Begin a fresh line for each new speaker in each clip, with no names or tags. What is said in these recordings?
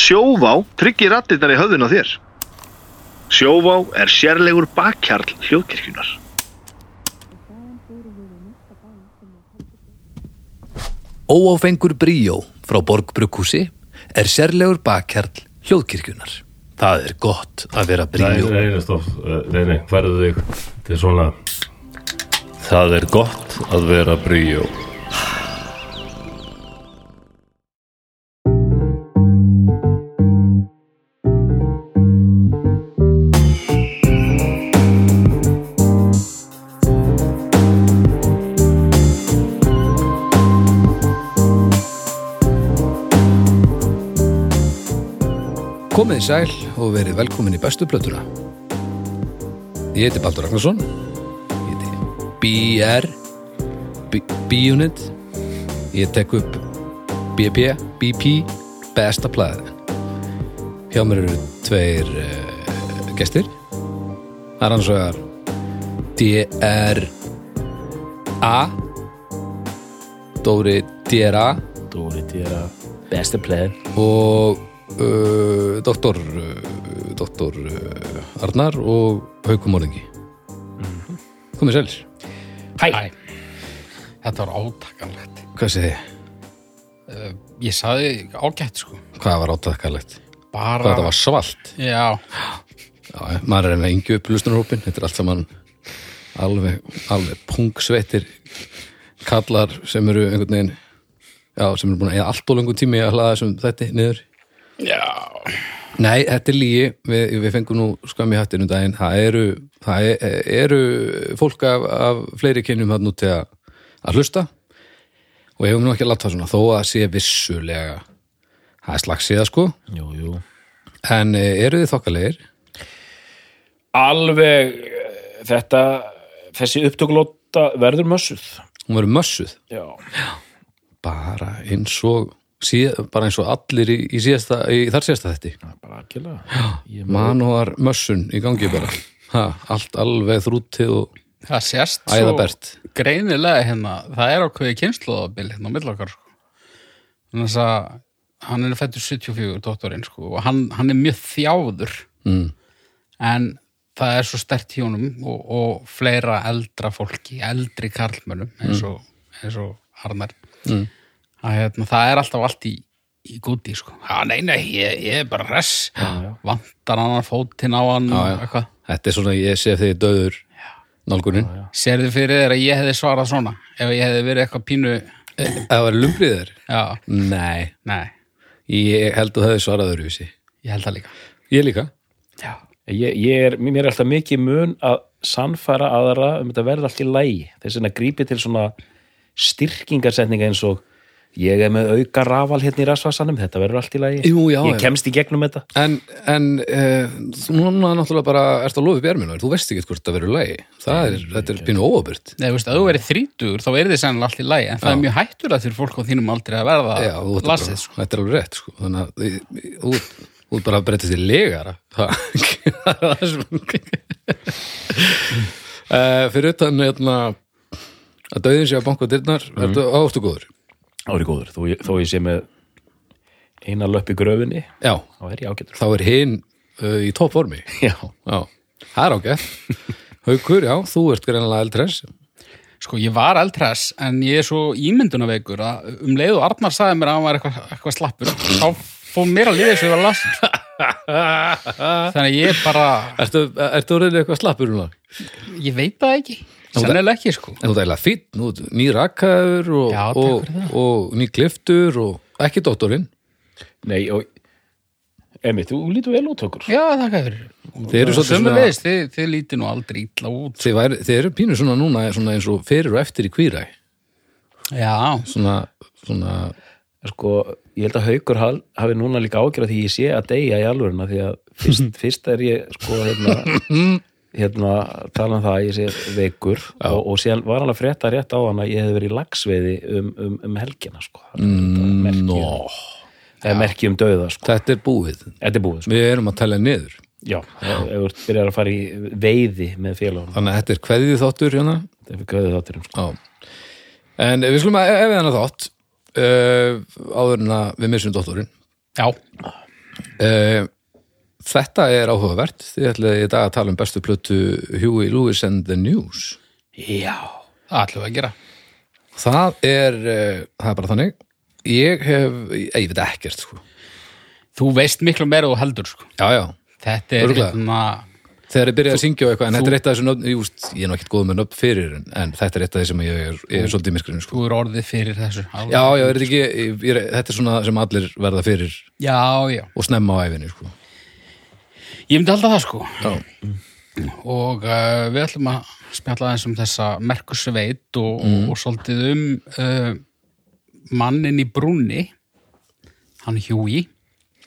Sjóvá tryggir rattirnar í höfðun á þér. Sjóvá er sérlegur bakkjarl hljóðkirkjunar.
Óáfengur bríó frá Borgbrukkúsi er sérlegur bakkjarl hljóðkirkjunar. Það er gott að vera
Nei,
bríó.
nei, nei, stopp, Eh, nei, nei, færðu þig til svona Það er gott að vera bríjó
Komið í sæl og verið velkomin í bestu plötuna. Ég heiti Baldur Ragnarsson. Ég heiti BR, B- B-Unit. Ég tek upp BP, BP, besta plæði. Hjá mér eru tveir uh, gestir. Það er hans vegar DRA, Dóri DRA
Dóri Týra Besti player
og uh, doktor uh, doktor uh, Arnar og Haukumorðingi Mhm. komið sælir
Hæ. Þetta var átakanlegt.
hvað sé þið?
Ég saði ágætt sko.
hvað var áttakalegt?
Bara...
hvað þetta var svalt?
Já,
Já, já, maður er enn að yngju upp lustunarhópin þetta er allt saman alveg, alveg pungsveittir kallar sem eru einhvern veginn já, sem eru búin að eða allt og lengur tími að hlaða þessum þetta niður
já.
Nei, þetta er lígi, við, við fengum nú skam í hattinu daginn, það eru, það e- eru fólk af, af fleiri kynjum þarna úti að, að hlusta og hefum nú ekki að láta það svona, þó að sé vissulega, það er slagsíða sko,
Jú, jú
en e, eru þið þokkalegir?
Alveg eh, þetta þessi upptökulóta verður mössuð
Hún verður mössuð,
Já
bara eins og, síð, bara eins og allir í, í, síðasta, í þar síðasta þetta.
það er Bara algjörlega Ég með-
Manuar mössun í gangi bara, ha, allt alveg þrútið og
Það sérst svo
æðabert.
greinilega hérna, það er ákveði kynnslóðabil hérna á milli okkar sko. Þannig þess að hann er fættur 74, dóttorinn sko, og hann, hann er mjög þjáður
Mm.
en það er svo stert í honum og, og fleira eldra fólki, eldri karlmönnum eins
Mm.
og, eins og Arnar mm. að hérna, það er alltaf allt í, í gúti sko. Já, nei, nei, ég, ég er bara hress vantar annan fótinn á hann
Já, já.
og eitthvað
Þetta er svona, ég sé þið döður nálgunin.
Serðu fyrir þér að ég hefði svarað svona ef ég hefði verið eitthvað pínu
Ef Það var lumbriðir?
Já,
Nei,
nei,
ég held að það er svarað öðruvísi.
ég held það líka
Ég líka.
Já,
Ég, ég er, mér er alltaf mikið mun að sannfæra aðra um þetta verður allt í lægi þess vegna grípi til svona styrkingarsetninga eins og ég er með auka rafal hérna í rasvarsanum þetta verður allt í lægi
Jú, já,
ég
já.
kemst í gegnum þetta
En, en uh, núna náttúrulega bara ert að lofa björminu, þú veist ekki hvort það verður lægi. Það er, þetta er pínu óöfburt.
Nei, þú veist, að þú verið þrítugur þá verið þið sennilega allt í lagi en það er mjög hættulegt fyrir fólk á þínum aldrei að verða
Já, þú ert
lasið
bara, þetta er alveg rétt, sko. Þannig að þið- þú þú- þú ert bara að breytast í legara. Það það er það sem... Uh, fyrir utan, hérna, að döðin sé að banka dyrnar,
Mhm.
mm. ertu ástu góður?
Ári góður, þó, ég- þó ég sé með eina löpp í gröfinni
Já,
þá er ég ágætur
þá er hinn uh, í toppformi.
Já,
Já, það er ágætt. Haukur, já, þú ert greinlega eldres.
Sko, ég var eldhress en ég er svo ímyndunaveikur að um leið og Arnar sagði mér að hann var eitthvað eitthva slappur þá fór mér að liða þessu að vera lasið sko. Þannig að ég bara,
Ertu, ertu orðin eitthvað slappur núna?
ég veit það ekki Sennilega ekki, sko
En þú dæla fýtt, nú nýrakaður og,
Já, takk
og,
fyrir það.
og nýgliftur og ekki dóttorinn.
nei og Emi, þú lítur vel út okkur
Já, þakka fyrir
Þið eru svolítið
Sömmu
svona-
veist, þið, þið lítið nú aldrei illa út
Þið, væri, þið eru pínu svona núna svona eins og fyrir og eftir í kvíræ.
Já,
Svona, svona,
Sko, ég held að haukur hal- hafi núna líka ágjörð því ég sé að deyja í alvöruna því að fyrst, fyrst er ég sko hérna, hérna tala um það að ég sé veikur og, og síðan var hann að frétta rétt á hann að ég hefði verið í lagsveiði um, um, um helgina sko. mm,
nó,
Það er merki um dauða sko.
þetta er búið.
Þetta er búið sko.
Við erum að tala niður.
Já, ef þú ert byrjar að fara í veiði með félagunum,
Þannig að þetta er kveðið þáttur hérna.
þetta er gauðið þátturum sko.
Já. En við skulum að eh, ef við hann að þátt uh, áður en að við missum dóttorinn.
já,
Eh, Þetta er áhugavert. Þið ætlaði í dag að tala um bestu plötu Huey Lewis and the News.
Já, það ætlum við að gera
Það er, eh, það er bara þannig. Ég hef, ég, ég veit ekkert, sko.
Þú veist miklu meira og heldur sko.
Já, já.
Þetta er
Örugglega.
hérna
Þegar ég byrjaði að syngja og eitthvað, en þetta er eitt af þessu nöfn, ég, úst, ég er nú ekkert góð með nöfn fyrir, en, en þetta er eitt af þessu sem ég er, ég er svolítið miskurinn, sko.
Þú er orðið fyrir þessu
Já, já, er þetta ekki, ég, ég, þetta er svona sem allir verða fyrir
já, já.
og snemma á æfinni, sko.
Ég myndi alltaf það sko
Já,
og uh, við ætlum að spjalla aðeins um þessa merkusveit og,
Mm.
og svolítið um uh, mannin í brúni hann Hjúi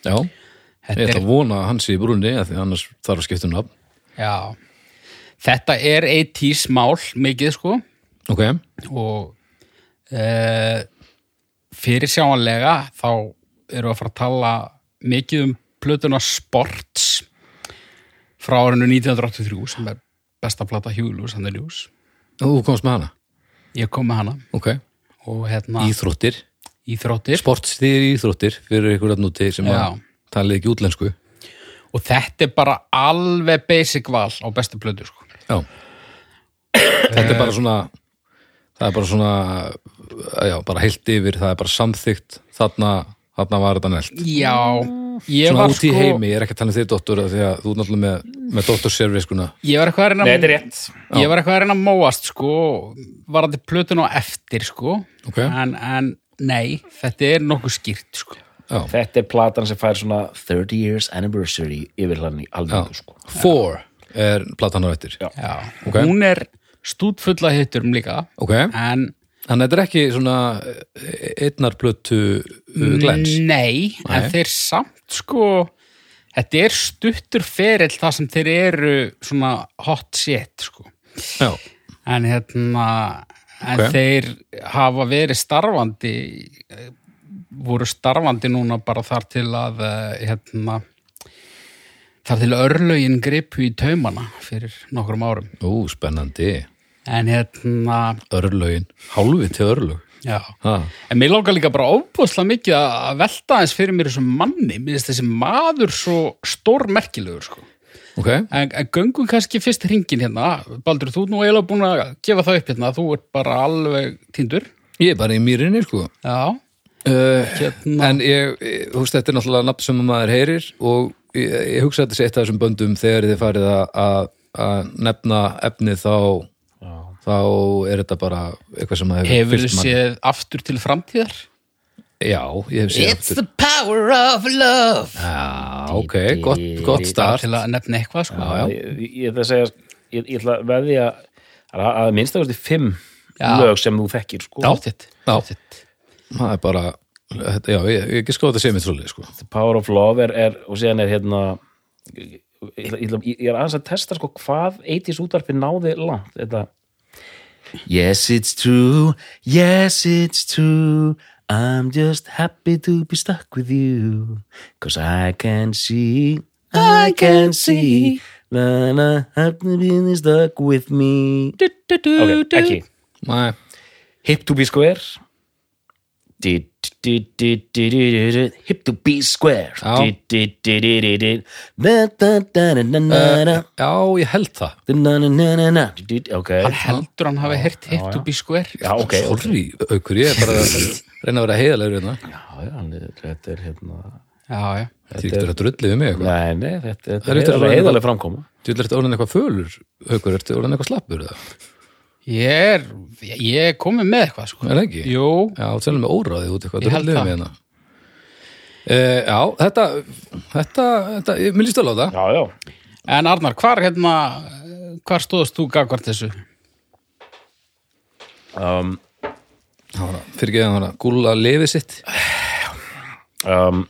já. Ég ætla að vona að hann sé í brúnni, af því annars þarf að skipta um nafn.
Já, þetta er 80s mál mikið sko
Ok,
og e, fyrir sjáanlega þá erum við að fara að tala mikið um plötuna Sports frá árinu 1983 sem er besta plata Hjúlús, hann er ljús.
þú komst með hana.
Ég kom með hana
Ok,
og hérna
íþróttir.
íþróttir
sportstýri íþróttir fyrir ykkur að núti sem að
Já.
talið ekki útlensku já,
og þetta er bara alveg basic val á bestu plötu sko.
þetta er
Eh.
bara svona það er bara svona eh, já, bara heilt yfir, það er bara samþygt þarna, þarna var þetta nelt
Já, ég
svona
var
út í
sko
heimi, ég er ekki að tala um þig dóttur af því að þú er náttúrulega með, með sko. dótturserviskuna
ég var eitthvað að reyna
þetta er rétt
Ég var eitthvað að reyna að móast sko, varandi plötun á eftir sko,
Ok.
en, en nei, þetta er nokkuð skýrt sko.
Þetta er platan sem fær svona 30 years anniversary yfir hann í alveg sko.
Four er platan á eftir
Já.
Já.
Ok.
Hún er stútfulla hitturum líka,
ok,
en
þannig að þetta er ekki svona eh, einnar plötu
Mm.
uh, glens
nei, en
Nei.
þeir samt sko, þetta er stuttur ferill það sem þeir eru svona hot shit sko.
já,
En hérna, en
Ok.
þeir hafa verið starfandi, eh, voru starfandi núna bara þar til að, eh, hérna, þar til örlögin gripu í taumana fyrir nokkrum árum.
ú, spennandi
En hérna,
örlögin, hálfi til örlög
já.
ha.
En mér langar líka bara óbúðslega mikið að velta aðeins fyrir mér þessum manni, mér finnst þessi maður svo stórmerkilegur, sko.
ok,
En, en göngum kannski fyrst hringin hérna, Baldur, þú ert nú eiginlega búin að gefa það upp hérna, þú ert bara alveg tindur.
Ég er bara í mýrinni, sko.
Já,
Uh,
Hérna.
En ég, ég- þú veist, þetta er náttúrulega nafn sem maður heyrir og ég, ég hugsa að þetta sé eitt af þessum böndum þegar þið farið að- að að nefna efnið þá, þá er þetta bara eitthvað sem maður
hefur
fylgt
þið
manni.
séð aftur til framtíðar?
Já, ég hef séð aftur.
the power of love
Já, ok, gott, gott start.
Til að nefna eitthvað sko
Já.
Ég, ég ætla að segja ég, ég ætla að veðja að, að minnstakosti fimm
Já.
lög sem þú þekkir sko.
Dáttitt
Já, það er bara, þetta, já, ég, ég ekki skoða þetta sé mér trúlega, sko.
The Power of Love er, er og síðan er hérna ég, ég, ætla- ég ég er aðeins að testa sko hvað 80s útvarpi náði langt þetta Yes it's true, yes it's true I'm just happy to be stuck with you Cause I can see, I can see That I have to be stuck with me Ok, ekki
Næ,
Hip to be square Di- di- di- di- di- di- di- Hip to be square
Já.
Di- di- di- di- di- di. Da- da- da- da- da- da- da.
já, ég held það.
Da- na- na- na- na- na. Di- di- di- Ok
Hann heldur hann hafi heyrt hip to be square
Já, ok
Sorry, aukur, ég er bara að reyna að vera heiðalegur hérna.
Já, já, hann er- Þetta er hérna
Já, já
Því ekki að drullið um mig eitthvað.
Nei, nei, þetta þetta
er
er
eitthvað-
heiðalega framkoma
Þú ert orðin eitthvað fölur, aukur, ertu orðin eitthvað slappur það?
Ég er, ég er komið með eitthvað sko
Er það ekki?
Jú,
Já, þú tennum með óráðið út eitthvað,
Ég
þú
held
held það.
það.
Hérna. Uh, já, þetta, þetta, þetta, ég- mér líst alveg á það.
Já, já
en Arnar, hvar hérna Hvar stóðast þú gagvart þessu?
um,
Fyrir ekki að hana, gúla lefið sitt.
um,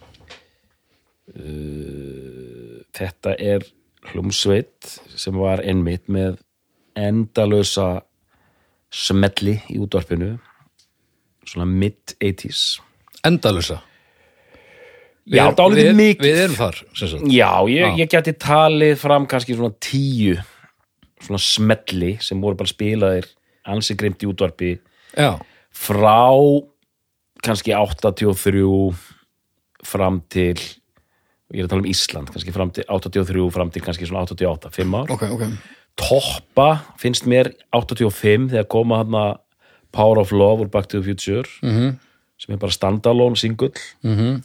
uh, þetta er hlumsveit sem var einmitt með endalösa smelli í útvarpinu svona mid-80s
Endalösa.
Já, dálítið mikið.
Við erum þar, sem
Mm.
sagt.
Já, ég, ég geti talið fram kannski svona tíu svona smelli sem voru bara spilaðir ansi greimt í útvarpi
Já,
frá kannski 83 fram til ég er að tala um Ísland, kannski fram til 83, fram til kannski svona 88, 5 ár
ok, ok
Eh,
toppa finnst mér 85 þegar koma hann að Power of Love úr Back to the Future -hmm. sem er bara standalone singull mm -hmm.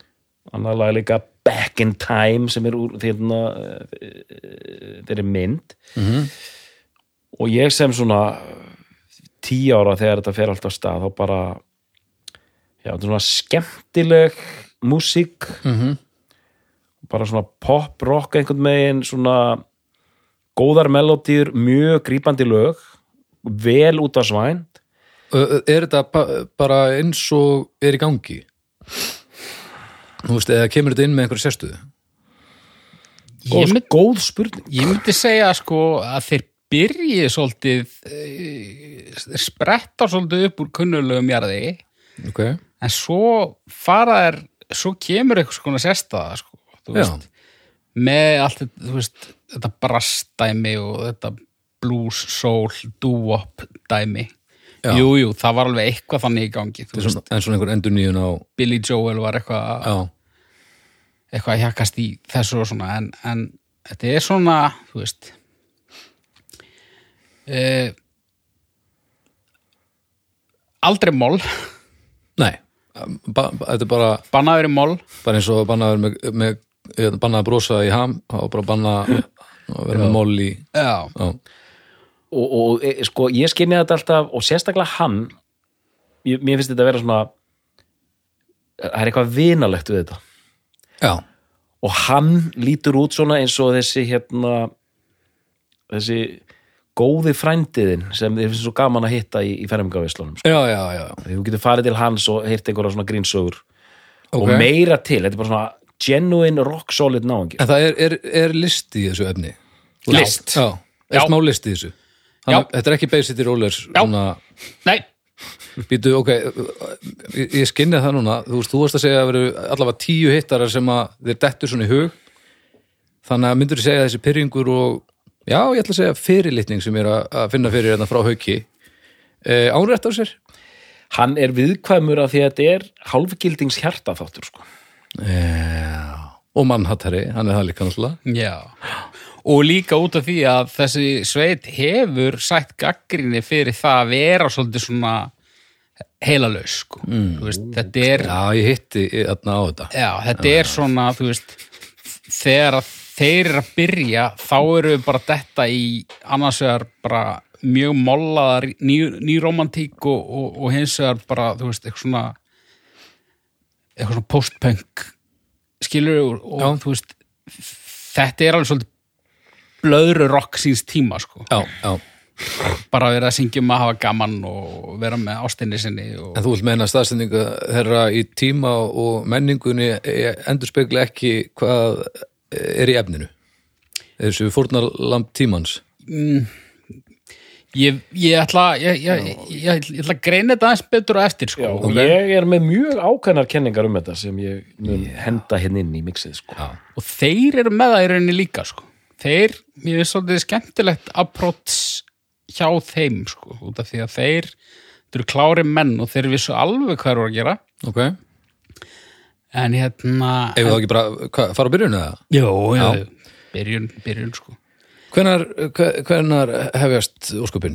annar lag er líka Back in Time sem er úr þérna eh, þeirri mynd mm -hmm. og ég sem svona tíu ára þegar þetta fer alltaf stað þá bara já, þetta er svona skemmtileg músík -hmm. bara svona pop rock einhvern veginn svona góðar melodíur, mjög grípandi lög vel út af svænt
Ö, ö, eh, Er þetta ba bara eins og er í gangi? Þú veist, eða kemur þetta inn með einhverju sérstuðu?
góð,
ég, mynd,
sko, góð spurning
ég myndi segja sko að þeir byrji svolítið eh, þeir spretta svolítið upp úr kunnulegum jarði
Ok,
en svo fara þær svo kemur einhvers konar sérstaða sko, þú
já,
veist, með allt þetta, þú veist, þetta brastdæmi og þetta blues, soul, doo-wop dæmi
Já.
jú, jú, það var alveg eitthvað þannig í gangi þú
þetta er
veist,
svona, en svona einhver endur nýjun á
Billy Joel var eitthvað
Já,
eitthvað að hjakast í þessu og svona en, en þetta er svona þú veist e, aldrei mól
nei ba ba Þetta er bara,
bannaður í mól
bara eins og bannaður með, með hérna, bannað að brosa í ham og bara banna að vera með mól í
já,
Já,
og, og e, sko, ég skynja þetta alltaf og sérstaklega hann ég, mér finnst þetta að vera svona það er eitthvað vinalegt við þetta
já,
og hann lítur út svona eins og þessi hérna þessi góði frændiðin sem þið finnst svo gaman að hitta í, í fermingavislunum sko.
já, já, já.
því þú getur farið til hans og heyrt einhverja svona grínsögur
ok
og meira til, þetta er bara svona genuine rock solid náungi
En það er, er, er list í þessu efni? Þú veist-
List?
Já, er
Já.
smá list í þessu
Já.
Þannig, Þetta er ekki Bay City Rollers svona,
nei,
býtu, ok ég, ég skinni það núna, þú veist, þú varst að segja að það veru allavega tíu hittarar sem að þér dettur svona í hug þannig að myndur þú segja að þessi pyrringur og já, ég ætla að segja fyrirlitning sem ég er að, að finna fyrir hérna frá hauki e, ánrætt á sér?
hann er viðkvæmur af því að þetta er hálfgildings hjarta þáttur sko.
Já og mannhattari, hann er það líka náttúrulega
já og líka út af því að þessi sveit hefur sætt gaggrinni fyrir það að vera svolítið svona heilalaus sko. mm. veist, þetta er
Já, ég hitti þarna á þetta
Já, þetta er svona, þú veist þegar að þeir eru að byrja þá eru við bara detta í annars vegar bara mjög mollaðar ný, nýromantík og, og, og hins vegar bara, þú veist, eitthvað svona eitthvað svona postpunk skilur og, og þú veist þetta er alveg svolítið blöðru rock síns tíma, sko
Já, já,
bara að vera að syngja um að hafa gaman og vera með ástinni sinni og...
en þú vilt meina að staðsendingu þeirra í tíma og menningunni endur spekla ekki hvað er í efninu þessu fórnarlamb tímans
Ég, ég, ætla, ég, ég, ég, ég, ég ætla að greina þetta aðeins betur á eftir sko.
Já, og ég er með mjög ákveðnar kenningar um þetta sem ég mun henda hérna inn í mixið sko.
og þeir eru með það í rauninni líka sko. þeir, mér finnst svolítið skemmtilegt approach hjá þeim sko, út af því að þeir þeir eru klári menn og þeir vissu alveg hvað eru að gera
ok, ef
en hérna
við þá ekki bara hva, fara að byrjun eða?
Jó, já, byrjun, byrjun sko.
Hvenar, hve- hvenar hefjast úrskupin?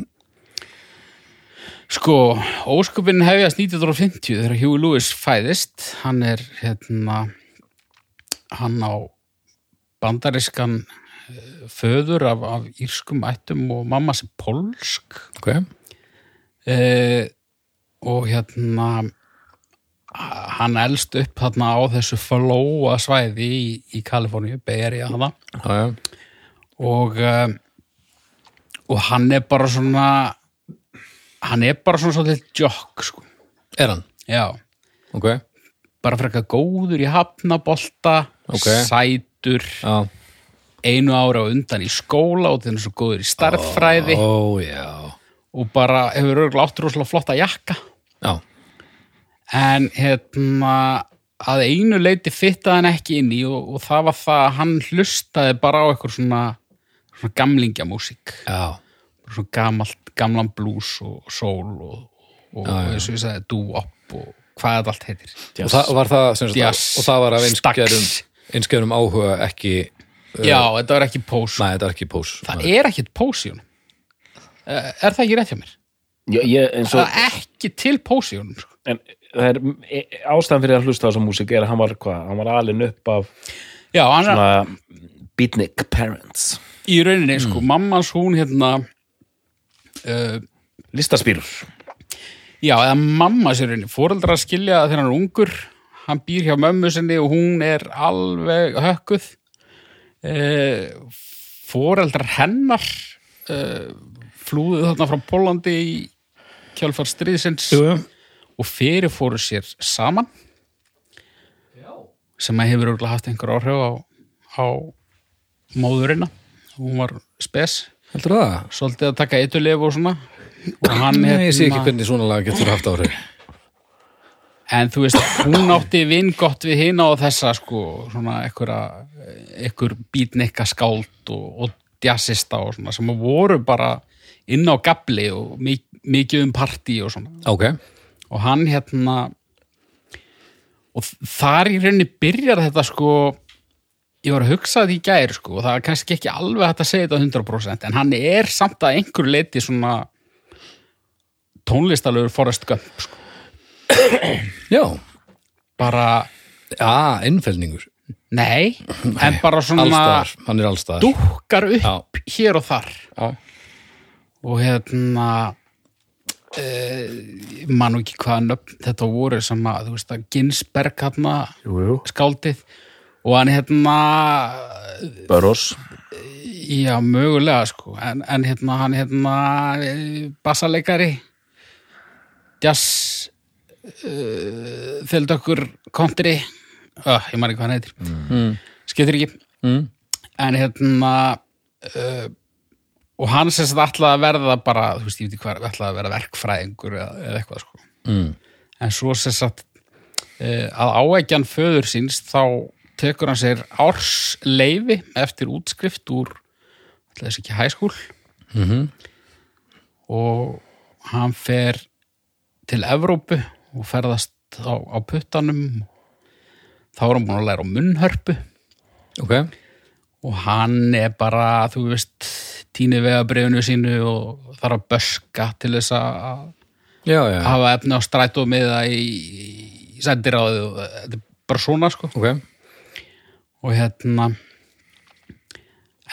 Sko, ósköpinn hefjast 1950 þegar Hugh Lewis fæðist. Hann er, hérna, hann á bandarískan eh, föður af, af írskum ættum og mamma sem pólsk
ok,
eh, og hérna h- hann elst upp þarna á þessu flóa svæði í, í Kaliforníu, Beri að hana
já, já,
og eh, og hann er bara svona hann er bara svona svolítið jokk sko
er hann?
Já,
ok,
bara frekar góður í hafnabolta,
Ok.
sætur,
já,
einu ára á undan í skóla og þannig svo góður í starffræði
ó Oh, já
og bara hefur örgulega áttur rosalega flotta jakka.
já,
En hérna, að einu leiti fittaði hann ekki inn í og, og það var það að hann hlustaði bara á eitthvað svona, svona gamlingjamúsík,
já,
svona gamalt, gamlan blues og sól og, og, og eins og ég sagði doo-wop og hvað þetta allt heitir.
og það var það sem sagt,
Jazz,
og það var af einskjærum
stax.
einskjöfnum áhuga ekki
já, þetta var ekki pós
Nei, þetta er ekki pós
það er ekkit pós í honum Eh, er það ekki rétt hjá mér?
Já, ég, eins og,
Ah.
það er ekki til pós í honum sko.
en það er e, ástæðan fyrir að hlusta á þessa músík er að hann var hvað, hann var alinn upp af
já, hann er
svona beatnik parents
í rauninni, sko,
Mm.
mammas hún hérna uh,
listaspýrur
Já, eða mamma sér henni, fóreldrar skilja að þegar hann er ungur, hann býr hjá mömmu sinni og hún er alveg hökkuð. Eh, fóreldrar hennar eh, flúðu þarna frá Pólandi í kjálfar stríðsins
jú.
og fyrirfóru sér saman Já. sem að hefur örugglega haft einhver áhrif á, á móðurina. Hún var spes,
Heldur það?
svolítið að taka eitulef og svona. Og hann, hérna-
Nei, ég sé ekki hvernig svona lag getur haft áhrif
En þú veist, hún átti vinn gott við hina og þessa sko, svona einhverja, einhver bítnikka skáld og, og djassista og svona, sem voru bara inn á gabli og mi- mikið um partí og svona.
Ok,
Og hann hérna, og þar í rauninni byrjar þetta sko, ég var að hugsa þetta í gær sko, og það er kannski ekki alveg hægt að segja þetta 100%, en hann er samt að einhverju leiti svona tónlistalögur Forrest Gump sko,
já
bara
Já, innfelningur
Nei, en bara svona
Allstaðar, hann er allstaðar
dúkkar upp
Já.
hér og þar
Já.
og hérna e, mann ekki hvaða nöfn þetta voru sem að, þú veist að Ginsberg hérna,
jú, jú.
skáldið og hann hérna
Burroughs
já, mögulega sko en, en hérna, hann hérna eh, bassaleikari jazz e, þeldökkur country Ö, ég man ekki hvað hann heitir mm. skiptir ekki
mm.
en hérna uh, og hann sem þetta ætlaði að verða bara, þú veist, ég veit ekki hvað ætlaði að verða verkfræðingur eða, eða eitthvað sko
Mm.
en svo sem sagt uh, að áækjan föður síns þá tekur hann sér árs leifi eftir útskrift úr ætlaði þess ekki hæskúl og hann fer til Evrópu og ferðast á, á puttanum þá er hann búin að læra á munnhörpu
Ok,
og hann er bara, þú veist, tíni vegabriðinu sínu og þarf að böska til þess að
já, já
hafa efni á strætómiða í, í sendiráðu og þetta er bara svona, sko.
Ok,
Og hérna,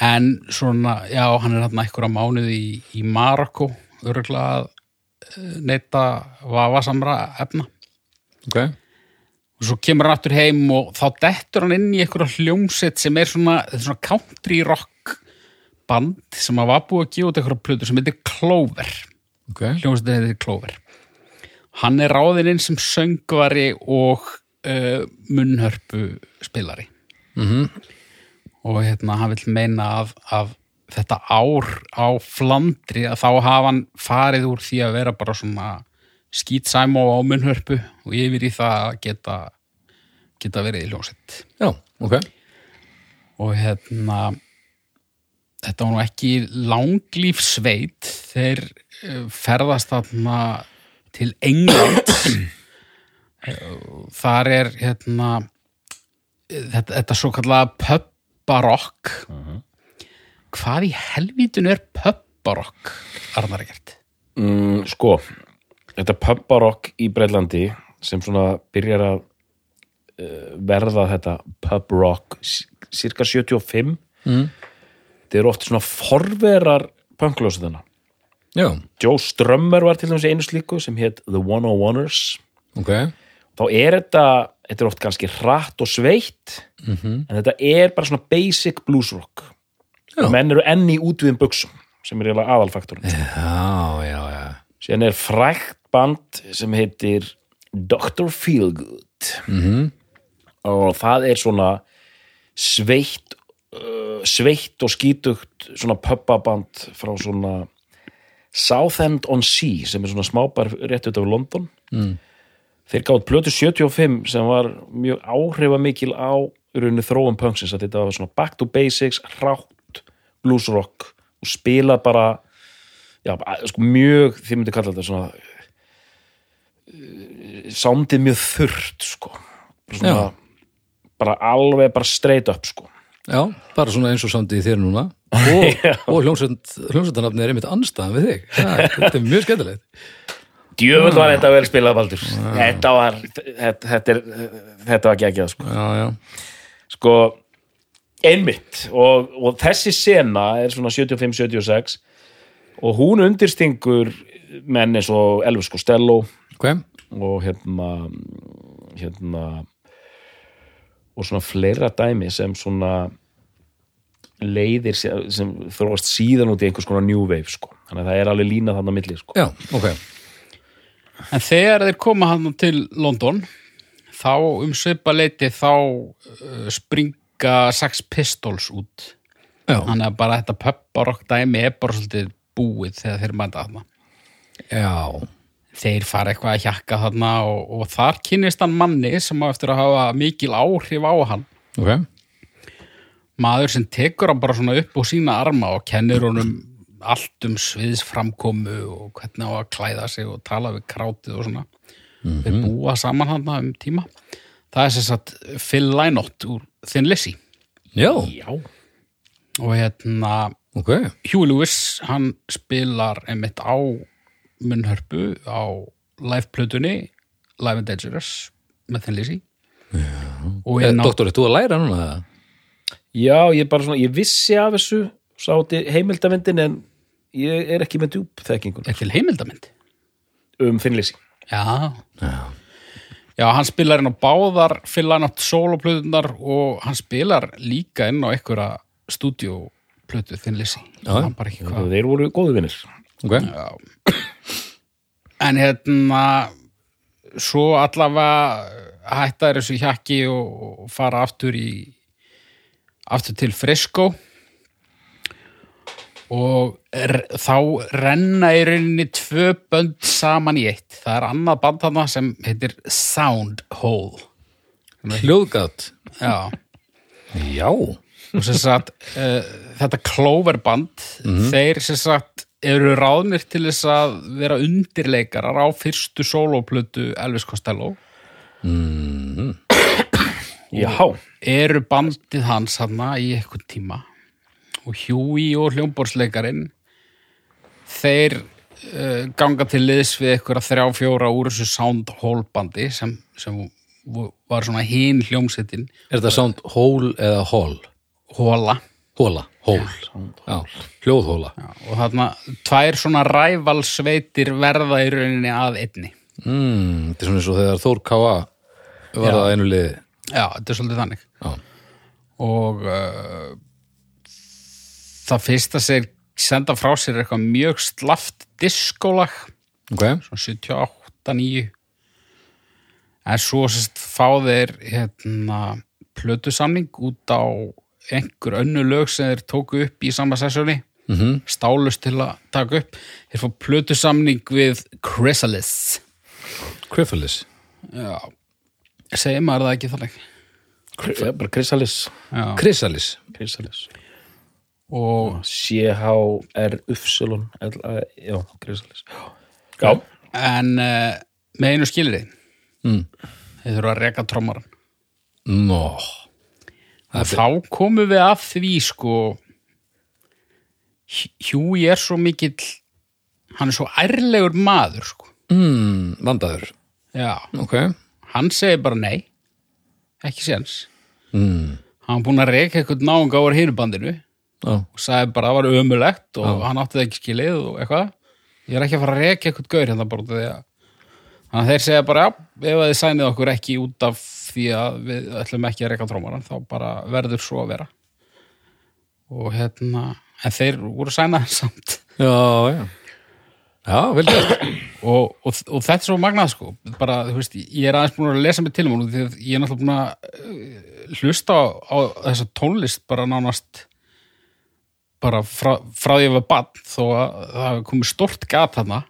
en svona, já, hann er hérna einhverja mánuði í, í Marokko, örgulega að eh, neyta vafasamra efna.
ok
og svo kemur hann aftur heim og þá dettur hann inn í einhverja hljómsett sem er svona, þetta er svona country rock band sem að var búið að gefa út einhverja plötu sem heitir Clover
Ok,
hljómsettin heitir Clover Mhm. hann er ráðinn inn sem söngvari og uh, munnhörpu spilari Mhm. -hmm. og hérna hann vill meina að, að þetta ár á Flandri að þá hafa hann farið úr því að vera bara svona skýtsæmó á munnhörpu og yfir í það að geta geta verið í hljómsett
já, ok
og hérna þetta var nú ekki langlífsveit þeir eh, ferðast þarna til England þar er hérna eh, þetta, þetta svo kallaða pöpparokk hvað í helvítun er pöpparokk Arnar Egert
Mm, sko, þetta pubbarokk í Breitlandi sem svona byrjar að uh, verða þetta pubrock sí- cirka 75
Mm.
þeir eru oft svona forverar punkljósuðina.
Já,
Joe Strömmer var til dæmis í einu slíku sem hétt The 101ers
ok
þá er þetta, þetta er oft kannski hratt og sveitt
Mhm.
en þetta er bara svona basic bluesrock
Já.
menn eru enn í útviðum buksum sem er eiginlega aðalfaktorinn
Já, já, já
síðan er frækt band sem heitir Dr. Feelgood og það er svona sveitt uh, sveitt og skítugt svona pubbaband frá svona Southend on Sea sem er svona smábær rétt út af London mm. þeir gátt plötu 75 sem var mjög áhrifamikil á í rauninni þróum punksins að þetta var svona back to basics, rátt bluesrock og spila bara já, að- sko, mjög, þið myndi kalla þetta svona eh, soundið mjög þurrt sko. Bara svona,
Já.
bara alveg bara straight up sko
Já, bara svona eins og samt í þér núna og, og hljómsveit, hljómsveitanafni er einmitt anstæðan við þig Já, Þetta er mjög skemmtilegt
djöfull var þetta vel spilað Baldur þetta var þetta, þetta, er, þetta var geggjað sko.
Já, já,
sko einmitt og, og þessi sena er svona 75-76 og hún undirstingur menn eins og Elvis Costello
hvað?
og hérna hérna og svona fleira dæmi sem svona leiðir sem, sem þróast síðan út í einhvers konar new wave sko þannig að það er alveg lína þarna á milli sko
Já, ok
En þegar þeir koma hann til London þá um svipa leiti þá uh, springa Sex Pistols út
Já,
þannig að bara þetta pöpparokk dæmi er bara svolítið búið þegar þeir mæta þarna
já,
þeir fara eitthvað að hjakka þarna og, og þar kynist hann manni sem á eftir að hafa mikil áhrif á hann
ok
maður sem tekur hann bara svona upp á sína arma og kennir honum allt um sviðsframkomu og hvernig á að klæða sig og tala við krátið og svona við búa saman hann um tíma það er sem sagt Phil Lynott úr Thin Lizzy
Já,
Já.
og hérna
ok
Hugh Lewis hann spilar einmitt á munnhörpu á live-plötunni Live and Dangerous með Thin Lizzy og
Eh,
inn á
Doktor, ert þú að læra núna það?
Já, ég bara svona, ég vissi af þessu sátti heimildavindin en ég er ekki með djúb þekkingun
ekki til heimildamindi
um finnlýsi
Já. Já. hann spilar inn á báðar, fylla hann átt soloplöðunar og hann spilar líka inn á einhverja stúdíóplötu þinn lýsi.
Já.
Hann bara ekki hvað.
Þeir voru góðu vinnir
Ok,
En hérna, svo allavega hætta er þessu hjakki og og fara aftur í, aftur til Frisco og er, þá renna í rauninni tvö bönd saman í eitt. Það er annað band þarna sem heitir Sound Hole.
hljóðgátt
Já,
Já,
og sem sagt uh, þetta Cloverband þeir sem sagt eru ráðnir til þess að vera undirleikarar á fyrstu sólóplötu Elvis Costello
Já,
eru bandið hans hana í eitthvað tíma og Huey og hljómborðsleikarin þeir uh, ganga til liðs við eitthvað þrjá fjóra úr þessu sound hole bandi sem, sem vo- var svona hinn hljómsettin
er þetta sound hól eða hól?
hóla
Hóla, hól Já, hljóðhóla
og þarna tvær svona rævalsveitir verða í rauninni að einni
mm, Þetta er svona eins og þegar Þór K.A. var það einu liði
já, þetta er svolítið þannig
Já,
og uh, það fyrsta sér senda frá sér eitthvað mjög slaft diskólag
ok,
svona 78, 9 en svo sérst fá þeir hérna plötusamning út á einhver önnu lög sem þeir tóku upp í sama sessjóni mm -hmm. stálust til að taka upp þeir fá plötusamning við Chrysalis
Criffles
Já, segir maður það ekki þannig
Já, bara Chrysalis
Chrysalis,
Chrysalis
og,
C-H-R-Upsilon L-A- Já, Chrysalis Já,
en uh, með einu skilri mm. þeir þurfa að reka trommaran
nó
og þá komum við að því sko Hjúi er svo mikill hann er svo ærlegur maður sko
mm, Vandaður,
Já,
ok
hann segir bara nei ekki séns mm. hann er búinn að reka eitthvað náunga á hinubandinu
Já,
og sagði bara að það var ömulegt og hann átti það ekki skilið og eitthvað ég er ekki að fara að reka eitthvað gaur hérna bara út af því að þannig að þeir segja bara já, ef að þið sænið okkur ekki út af því að við ætlum ekki að reka trómaran þá bara verður svo að vera og hérna en þeir voru sænaðir samt
já, já Já, vel gert
og, og, og þetta er svo magnað sko bara, þú veist, ég er aðeins búin að lesa mig til um hún því að ég er náttúrulega búin að eh, hlusta á, á þessa tónlist bara nánast bara frá, frá því að ég var bann þó að það hafi komið stort gat þarna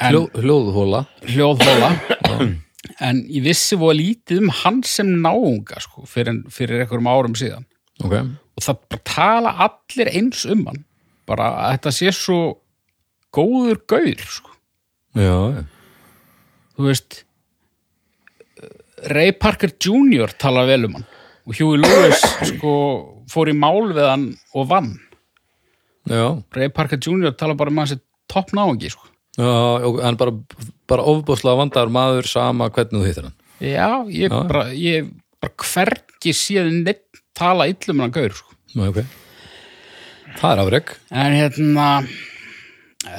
Hljó, Hljóðhóla
hljóðhóla en ég vissi voða lítið um hann sem náunga sko, fyrir, fyrir einhverjum árum síðan
Ok,
og það bara tala allir eins um hann bara að þetta sé svo góður gaur sko
já, já
þú veist Ray Parker Jr. talar vel um hann og Huey Lewis sko fór í mál við hann og vann
já,
Ray Parker Jr. talar bara um hann sem topp náungi sko.
já og hann bara, bara ofbúslega vandar maður sama hvernig þú hittir hann
já, ég bara ég bara hvergi séð neitt tala illum hann gaur sko.
Nú, ok það er afreg
en hérna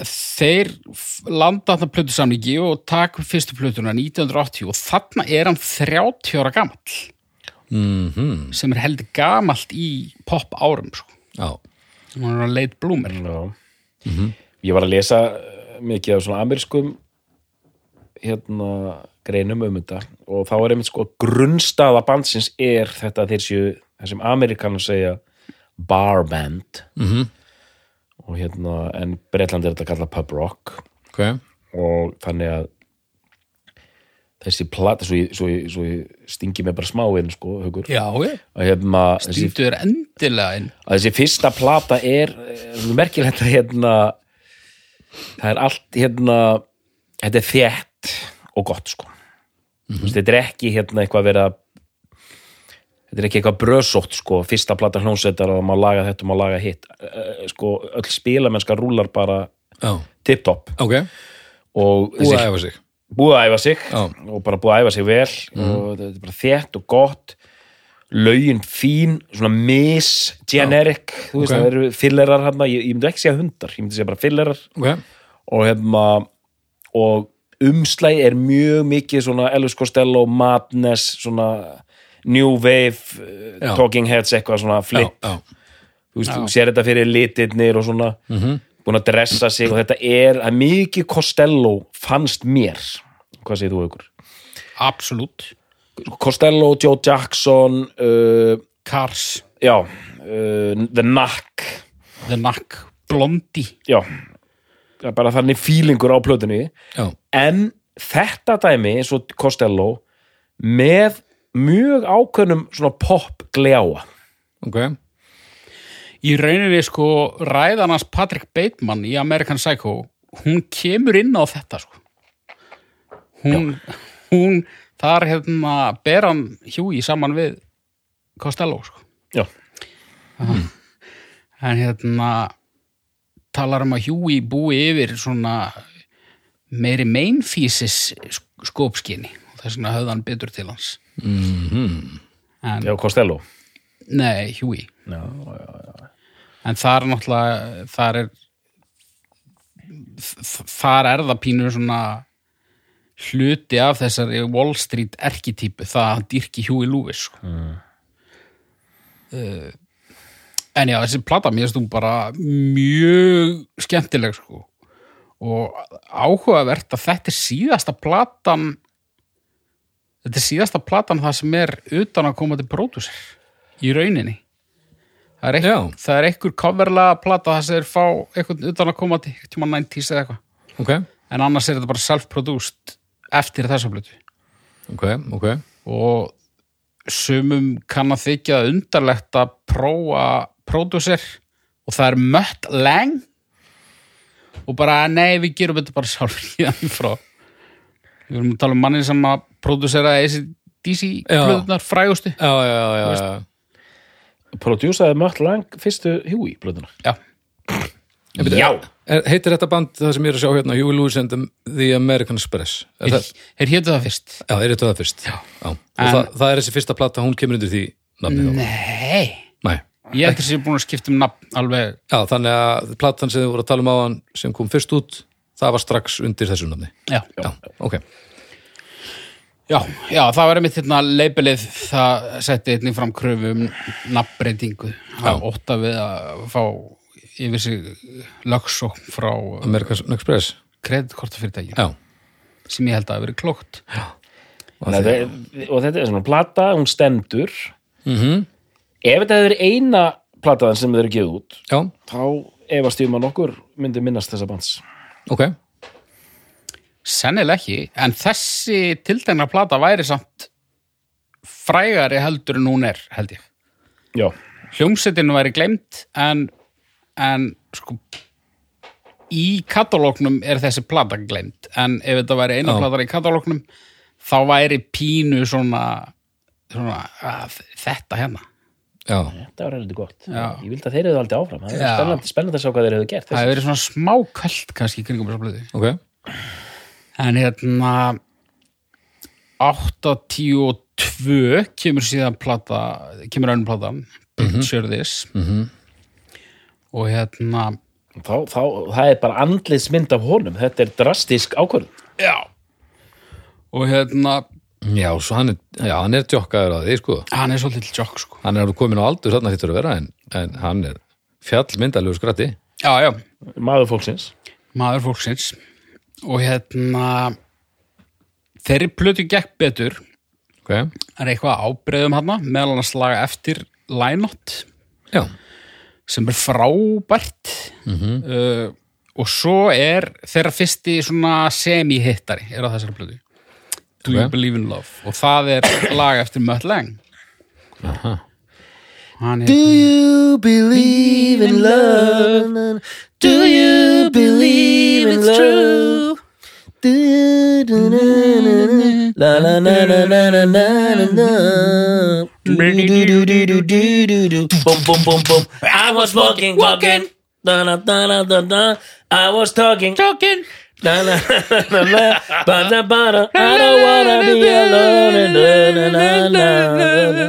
þeir f- landa þarna plötusamningi og taka fyrstu plötuna 1980 og þarna er hann 30 ára gamall
mm
sem er heldur gamalt í pop árum sko.
já,
sem hann er að leit blúmer
Já. Ég var að lesa eh, mikið af svona amerískum hérna greinum um þetta og þá er einmitt sko grunnstaða bandsins er þetta að þeir séu það sem ameríkanar segja bar band
mhm,
og hérna en Bretland er þetta að kalla pub rock
ok
og þannig að þessi plata svo ég, svo ég, svo ég stingi mig bara smá inn sko, hugur
já, ég
að hérna, þessi
Sýndu er endilega inn
að þessi fyrsta plata er eh, merkilegt að hérna það er allt hérna þetta er þétt og gott sko mm þetta er ekki hérna eitthvað að vera þetta er ekki eitthvað brösótt sko fyrsta plata hljónsetar að maður laga þetta og maður laga hitt Eh, sko öll spilamennska rúlar bara
já,
tipptopp
ok,
og
búið
þessi-
að æfa sig
búið að æfa sig
Já. Mhm.
og bara búið að æfa sig vel og þetta er bara þétt og gott lögin fín, svona mis-generic, þú veist,
Ok.
það eru fillerar hann, ég, ég myndi ekki segja hundar, ég myndi segja bara fillerar
ok,
og hefma og umslæg er mjög mikið svona Elvis Costello, Madness svona New Wave eh,
Já.
Talking Heads, eitthvað svona
já,
flip
já Mhm.
þú veist, þú sér þetta fyrir litirnir og svona, búin að dressa sig og þetta er, að mikið Costello fannst mér hvað segir þú ykkur?
absolutt,
Costello, Joe Jackson uh,
Cars,
já uh, The Knack
The Knack Blondie
já, það er bara þannig fílingur á plötunni
já,
en þetta dæmi, eins og Costello með mjög ákveðnum svona pop gljáa
ok,
í rauninni sko ræðan hans Patrick Bateman í American Psycho hún kemur inn á þetta sko hún, hún þar hefðum að bera hann hjúi saman við Costello sko
já,
en hérna talar um að Hjúi búi yfir svona meiri mainfísis skópskinni og þess vegna höfði hann betur til hans mm en
já Costello
Nei, Huey já, já, já. En þar náttúrulega þar er þ- þar er það pínur svona hluti af þessari Wall Street erkitypu það að dyrki Huey Lewis sko. mm. En já, þessi plata mér stum bara mjög skemmtileg sko og áhugavert að þetta er síðasta platan þetta er síðasta platan það sem er utan að koma til pródúsir í rauninni það er,
Já.
ekk, það er ekkur coverlega plata það sem er fá eitthvað utan að koma til tjóma 90s eða eitthvað
ok
en annars er þetta bara self-produced eftir þessa blötu
ok, ok,
og sumum kann að þykja undarlegt að prófa pródúsir og það er mött leng og bara nei við gerum þetta bara sjálf hérna frá við erum að tala um manni sem að pródúsera ACDC
Já.
plöðunar frægustu
já, já, já, já, já.
prodúsaði Mött Lang fyrstu Huey plötuna
já,
já,
Er, heitir þetta band það sem ég er að sjá hérna Huey Lewis and the, the American Express er það,
hér hétu það fyrst
já, er þetta það fyrst já. og það, það er þessi fyrsta plata, hún kemur undir því nafni þá,
nei,
nei
ég held að sé búin að skipta um nafn alveg
já, þannig að platan sem þið voru að tala um á hann sem kom fyrst út, það var strax undir þessu nafni,
já,
já, ok
já, já það var einmitt hérna leipilið það setti einnig fram kröfu um nafnbreytingu að ótta við að fá yfir sig lögsókn frá
American Express,
kreditkortafyrirtækin
já,
sem ég held að hafi verið klókt
og
Nei,
því,
það, og þetta er svona plata, hún stendur ef þetta hefur eina plataðan sem þeir eru gefið út
já,
þá efast ég um að nokkur myndi minnast þessa bands
ok
sennileg ekki, en þessi tiltegna plata væri samt frægari heldur en hún er held ég
já,
hljómsettinu væri glemt en, en sko í katalóknum er þessi plata glemt en ef þetta væri eina
Já.
plata í katalóknum þá væri pínu svona, svona að, þetta hérna
já,
Þetta var heldur gott.
Já.
Ég vildi að þeir eru aldrei áfram. Það er
Já.
spennandi, spennandi að sjá hvað þeir eru gert.
það hefur verið svona smá kvöld kannski í kringum þessa blöðu
ok
en hérna 8.10.2 kemur síðan plata kemur önnum plata Picture This og hérna
Þá, þá, það er bara andliðsmynd af honum. Þetta er drastisk ákvörðum.
já og hérna,
já, svo hann er, já, hann er tjokkaður að því, sko
hann er svolítið tjokk sko
hann er komin á aldur þarna hittur að vera en, en hann er fjallmyndalegu skratti
já, já,
Maður fólksins.
maður fólksins og hérna þeirri plötu gekk betur
ok,
en eitthvað ábreyðum hana meðal hann að slaga eftir Lænott
já,
sem er frábært uh, og svo er þeirra fyrsti svona semi-hittari er á þessari plötu Do You
Ok.
Believe in Love og það er lag eftir Mutt Lang Aha.
Do you believe in love? Do you believe it's true?
La la la la la la la la la Du-du-du-du-du-du-du-du. Bum bum bum bum I was walking, walking Da da da da da da I was talking, talking Da da da da da Ba da ba da I don't wanna be alone Da da da da da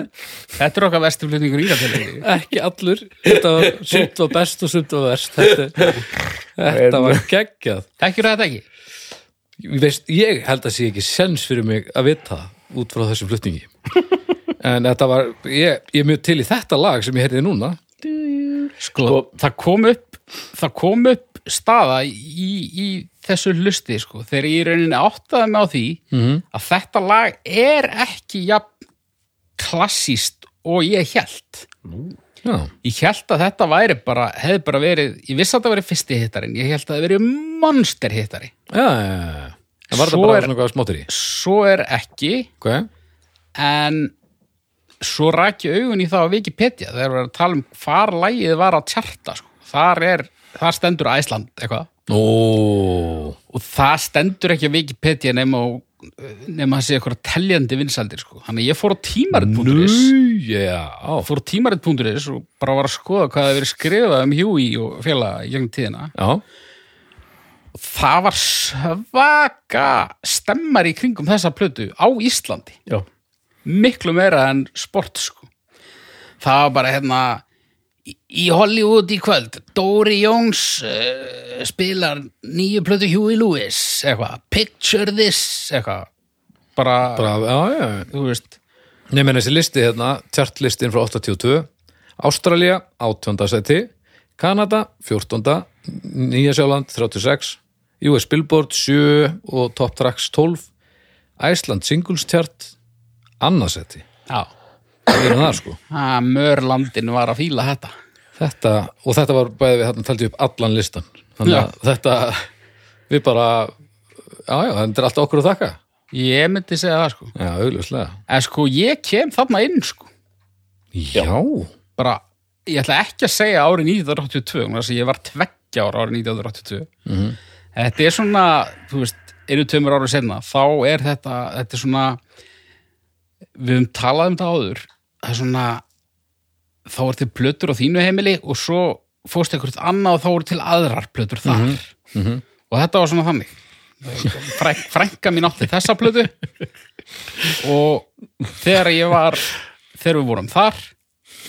Þetta er okkar verstu flutningur í það
Ekki allur, þetta var sumt var best og sumt var verst Þetta, þetta var geggjað
Þekkjur þetta ekki?
Ég veist, Ég held að sé ekki sens fyrir mig að vita það út frá þessum flutningi En þetta var, ég, ég er mjög til í þetta lag sem ég heyrði núna
Sko, það kom upp það kom upp staða í, í þessu hlusti sko, þegar ég í rauninni áttaði mig á því -hmm. að þetta lag er ekki jafn klassíst og ég held
Já,
ég held að þetta væri bara hefði bara verið, ég vissi að þetta væri fyrsti hittarinn ég held að það verið monster hittari
já, já, já En var
Svo
þetta bara
er-
svona hvað smáttir í?
svo er ekki
Ok,
en svo rak ég augun í það á Wikipedia þegar við erum að tala um hvar lagið var að tjarta sko. þar er, þar stendur Æsland eitthvað
ó,
og það stendur ekki á Wikipedia nema, á- nema að sé eitthvað teljandi vinsaldir sko. þannig að ég fór á tímarit.is
nú, já, á
fór á tímarit.is og bara var að skoða hvað það verið skrifað um Hjúi og félaga í gegnum tíðina
Já,
og það var svaka stemmar í kringum þessa plötu á Íslandi
Já.
miklu meira en sport sko. það var bara hérna í- í Hollywood í kvöld Dóri Jóns uh, spilar nýju plötu Huey Lewis eitthvað, picture this eitthvað, bara,
bara, já, já, já
þú veist
Nei, menn þessi listi hérna, tjartlistin frá 82, Ástralía 18. seti, Kanada 14. Nýjasjáland 36, US Billboard 7 og Top Tracks 12, Æsland Singles tjart, annað seti.
já,
Það er það sko.
að mörlandin var að fíla þetta
Þetta, og þetta var bæði við þarna taldi upp allan listan. Þannig að þetta, við bara, já, já, þetta er allt okkur að þakka.
ég myndi segja það sko
Já, augljóslega.
en sko ég kem þarna inn sko
Já,
bara, ég ætla ekki að segja árið 1982, vegna þess að ég var tveggja ára árið 1982 þetta er svona, þú veist einu tveimur árið senna, þá er þetta þetta er svona við höfum talað um þetta áður það er svona, þá er til plötur á þínu heimili og svo fórst eitthvað annað og þá eru til aðrar plötur þar og þetta var svona þannig Frænk, frænka mín átti þessa plötu og þegar ég var þegar við vorum þar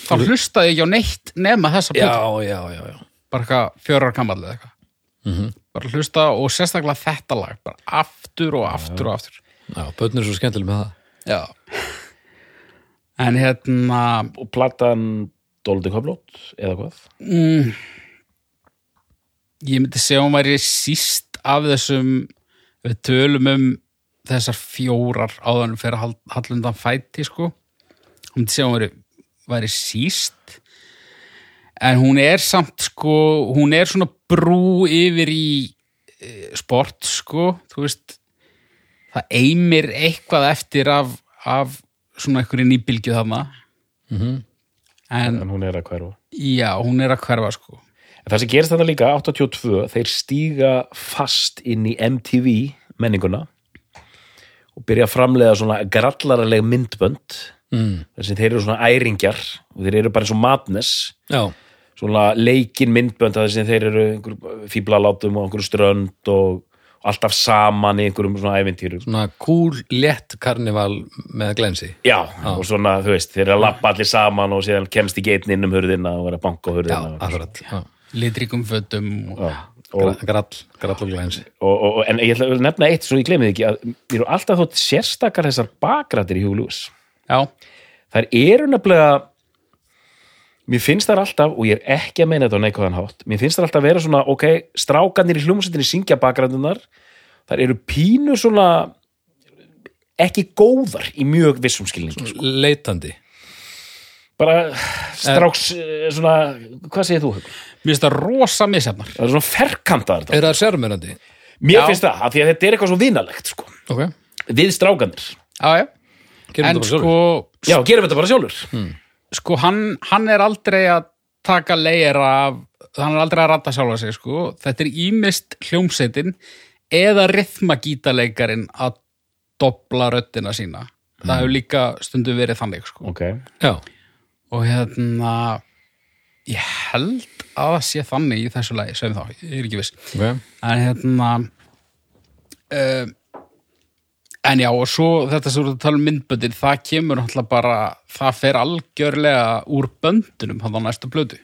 þá hlustaði ég ekki á neitt nema þessa
já,
plötu,
já, já, já.
bara eitthvað fjörar kamalli eða eitthvað bara hlusta og sérstaklega þetta lag bara aftur og aftur og aftur
Já, börnir er svo skemmtileg með það.
já en hérna
Og platan Dóldi Köflót eða hvað
mm, ég myndi segja að hún væri síst af þessum við tölum um þessar fjórar áðanum fyrir að hal- halla undan fæti sko hún myndi segja að hún væri, væri síst en hún er samt sko, hún er svona brú yfir í e, sport sko, þú veist það eimir eitthvað eftir af, af svona einhverju nýbylgju þarna en
en hún er að hverfa
já, hún er að hverfa sko
En það sem gerist þarna líka 82, þeir stíga fast inn í MTV menninguna og byrja að framleiða svona grallaraleg myndbönd mm. þessi þeir eru svona æringjar og þeir eru bara eins og madness
já,
svona leikin myndbönd að þessi þeir eru einhver fíblalátum um og einhverju strönd og alltaf saman í einhverjum svona ævintýrum
svona cool, létt karnival með glensi
Já, og svona, þú veist, þeir eru að lappa allir saman og síðan kemst í geitn inn um hurðina og vera að banka á
já,
hurðina
akkurat já.
litríkum fötum og,
og,
Gra- grall, grall og glensi
og, og, og, en ég ætla að nefna eitt svo ég glemði ekki að mér eru alltaf þótt sérstakar þessar bakrættir í Hugh Lewis
já,
þær eru nefnilega mér finnst þær alltaf og ég er ekki að meina þetta á neikvæðan hátt mér finnst þær alltaf að vera svona, ok, strákanir í hljómsveitinni syngja bakrættunar þær eru pínu svona ekki góðar í mjög vissum skilningi sko.
leitandi
bara stráks, eh, svona hvað segir þú? Haukur?
mér finnst það rosa misjafnar
Það er svona ferkantaðar þetta.
er það sérmennandi
Mér
Já.
finnst það, af því að þetta er eitthvað svo vinalegt, sko.
ok,
Við strákanir.
já, já.
gerum þetta
en
bara sjálfur
sko,
Já, gerum þetta bara sjálfur.
sko hann, hann er aldrei að taka leir af hann er aldrei að rata sjálfa sig sko. þetta er ímist hljómsveitin eða rithmagítaleikarin að dobla röddina sína það hefur
Mm.
líka stundu verið þannig sko.
Ok.
já,
og hérna ég held að það sé þannig í þessu lagi sem þá, ég er ekki viss
ok
en hérna uh, en já og svo þetta sem við erum að tala um myndböndir það kemur náttúrulega bara það fer algjörlega úr böndunum hann á næstu blödu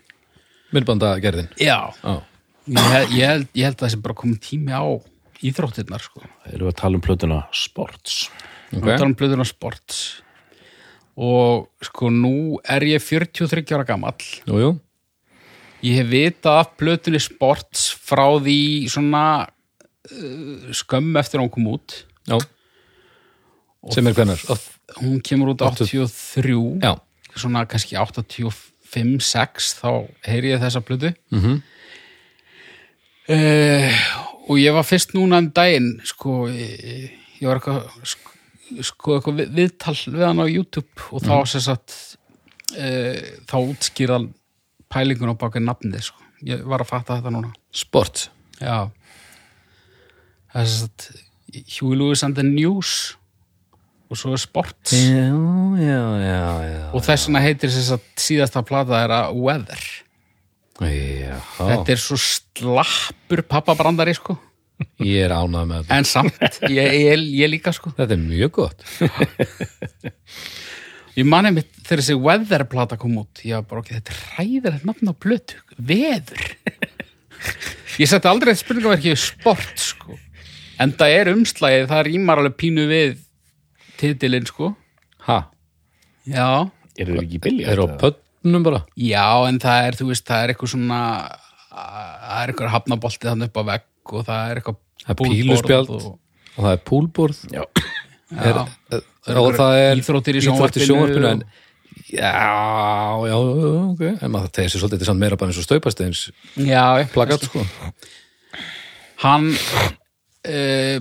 myndbandagerðin
já,
já,
ég, held- ég, held, ég held að það sé bara komið tími á íþróttirnar sko
Það eru að tala um plötuna Sports.
okay. við
ok,
tala um blöðuna sports og sko nú er ég 43 ára gamall
jú, jú
Ég hef vitað af plötunni Sports frá því svona uh, skömm eftir að hún kom út.
já sem er hvernar, Oft-
Hún kemur út 83,
já,
svona kannski 85-6, þá heyri ég þessa plötu. Mm og ég var fyrst núna um daginn, sko, ég, ég var eitthvað, sk- sko, eitthvað við, viðtal við hann á YouTube og þá sem sagt, uh, þá útskýrðan pælingun á baki nafnið, sko. Ég var að fatta þetta núna.
sport
Já Það er satt Huey Lewis and the News og svo er sports
já, já, já, já
og þess vegna heitir þess að síðasta plata er að Weather
Já,
Þetta er svo slappur pappabrandari sko
ég er ánað með þetta.
en samt, ég, ég, ég líka sko
Þetta er mjög gott.
Ég mani mitt þegar þessi Weather plata kom út ég var bara okkur, þetta er ræðilegt nafn á blötu Veður Ég setti aldrei eitt spurningaverki við sport sko en það er umslagið, það rýmar alveg pínu við titilinn sko
Ha,
Já
Eru þau ekki bilja?
er á pönnum bara?
Já, en það er, þú veist, það er eitthvað svona það er eitthvað hafnabolti þannig upp á vegg og það er
Það
eitthvað
er píluspjald og...
og,
það er púlborð. Já. Er, er, og
einhverjar
það er
íþróttir í
íþróttir í
sjónvarpinu
sjónvarpinu. En, já, já, já, ok. En maður tegir sér svolítið þetta er samt meira bara eins og staupasteins
Já, ég-
plakat, sko.
hann uh,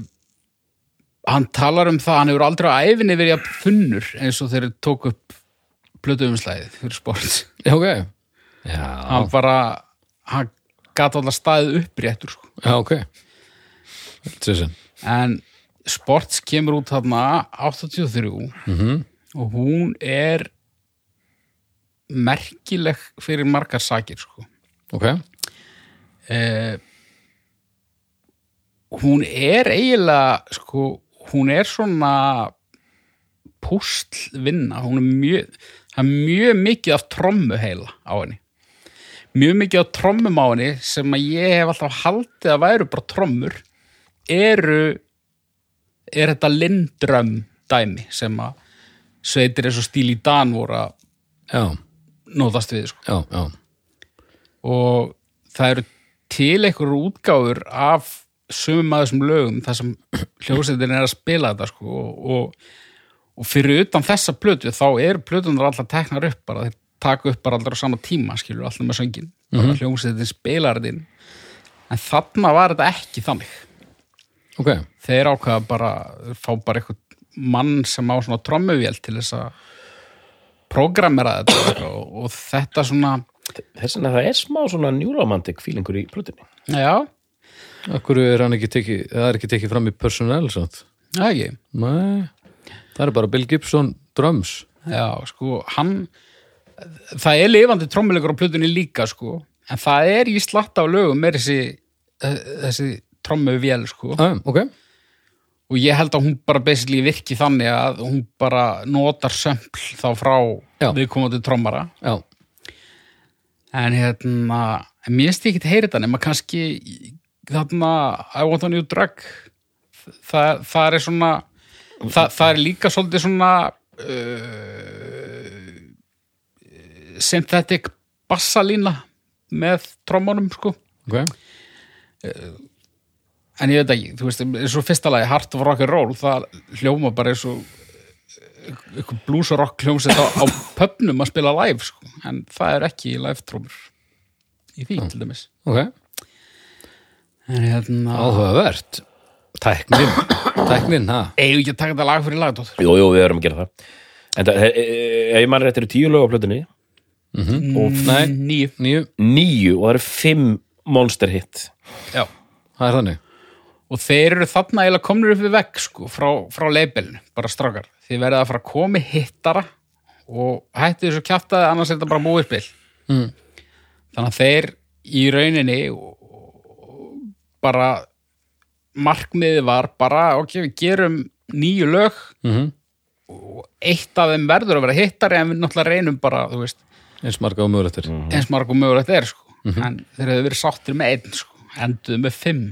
hann talar um það, hann hefur aldrei á æfinni verið að funnur eins og þeir tók upp plötuumslæðið fyrir sport
Já, ok. Já,
hann bara, hann gat alltaf staðið uppréttur sko
já, ok. Trissin.
en Sports kemur út þarna 83 og hún er merkileg fyrir margar sakir sko.
Ok.
eh, hún er eiginlega sko, hún er svona pústlvinna hún er mjög það er mjög mikið af trommu heila á henni mjög mikið af trommum á henni sem að ég hef alltaf haldið að væru bara trommur eru er þetta lindröm dæmi sem að sveitir eins og stíl í Dan voru að
Já,
nóðast við sko.
já, já.
og það eru til einhverjur útgáfur af sumum að þessum lögum þar sem hljósetin er að spila þetta sko, og, og fyrir utan þessa plötu þá eru plötunar alltaf teknar upp bara, þeir taka upp bara alltaf á sama tíma skilur alltaf með söngin mm -hmm. hljósetin spilar þetta inn. en þarna var þetta ekki þannig
Ok.
þeir ákvaða bara fá bara eitthvað mann sem á svona trommuvél til þess að programmera þetta sko, og, og þetta svona
Þess vegna það er smá svona njúromantik fílingur í plötunni.
já,
Akkur er hann ekki tekið, það er ekki tekið fram í personnel, svona.
Já, ekki.
Nei, það er bara Bill Gibson drums
Já, sko, hann það er lifandi trommuleikur á plötunni líka, sko, en það er í slatta á lögum er þessi eh, þessi trommu vél, sko
ah, ok,
og ég held að hún bara basically virki þannig að hún bara notar sömpl þá frá
Já.
viðkomandi trommara
já,
en hérna, en mér finnst ég ekki heyri þetta nema kannski í- þarna I want a new drug það, það er svona það, það er líka svolítið svona uh, synthetic bassalína með trommunum sko
ok
en ég veit ekki, þú veist, eins og fyrsta lagi Heart of Rock and Roll, það hljóma bara eins og eitthvað blues og rock hljómsett á, á pöpnum að spila live, sko, en það er ekki live trómur í því, til dæmis
ok,
en hérna,
áhugavert tæknin, tæknin, ha
eigum við ekki að taka þetta lag fyrir lagdóttur
Jú, jú, við erum að gera það En það, e- e- ef ég mann rétt eru tíu lög á plötunni
Nei.
nýju,
nýju,
Níu og það eru fimm monster hit
já
það er þannig
og þeir eru þarna eiginlega komnir upp við vegg sko, frá, frá labelinu, bara strákar þið verðið að fara að komi hittara og hættu þessu kjaftaði annars er þetta bara búið spil mm. þannig að þeir í rauninni og- og- bara markmiðið var bara ok, við gerum nýju lög mm
Mhm.
og eitt af þeim verður að vera hittari en við náttúrulega reynum bara, þú veist
eins marga og mögulegtir mm.
eins marg og mögulegt er sko. en þeir hefur verið sáttir með einn sko. enduðu með fimm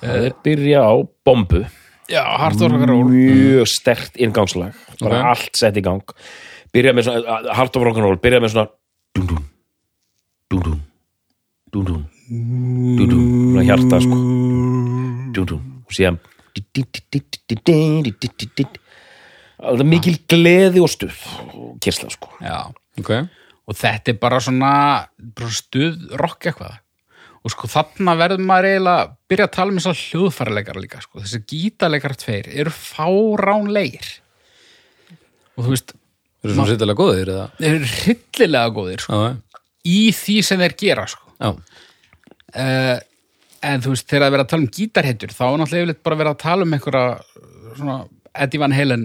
Það byrja á bombu
já, hartur okkar ról
mjög stert ingangslag bara
Ok.
allt sett í gang byrja með svona, uh, Heart of Rock'n'Roll byrja með svona dún-dún dún-dún dún-dún dún-dún, svona hjarta sko dún-dún, og síðan það er mikil gleði og stuð og kyrsla sko
já
ok,
og þetta er bara svona bara stuð rock eitthvað og sko þarna verður maður eiginlega að byrja að tala um þessar hljóðfæraleikar líka sko. þessi gítarleikar tveir eru fáránleir og þú veist
eru svona sýttilega góðir eða,
þeir eru hryllilega góðir sko,
já,
í því sem þeir gera sko.
já
uh, en þú veist þegar það er verið að tala um gítarhetjur þá er náttúrulega yfirleitt bara verið að tala um einhverja svona Eddie Van Halen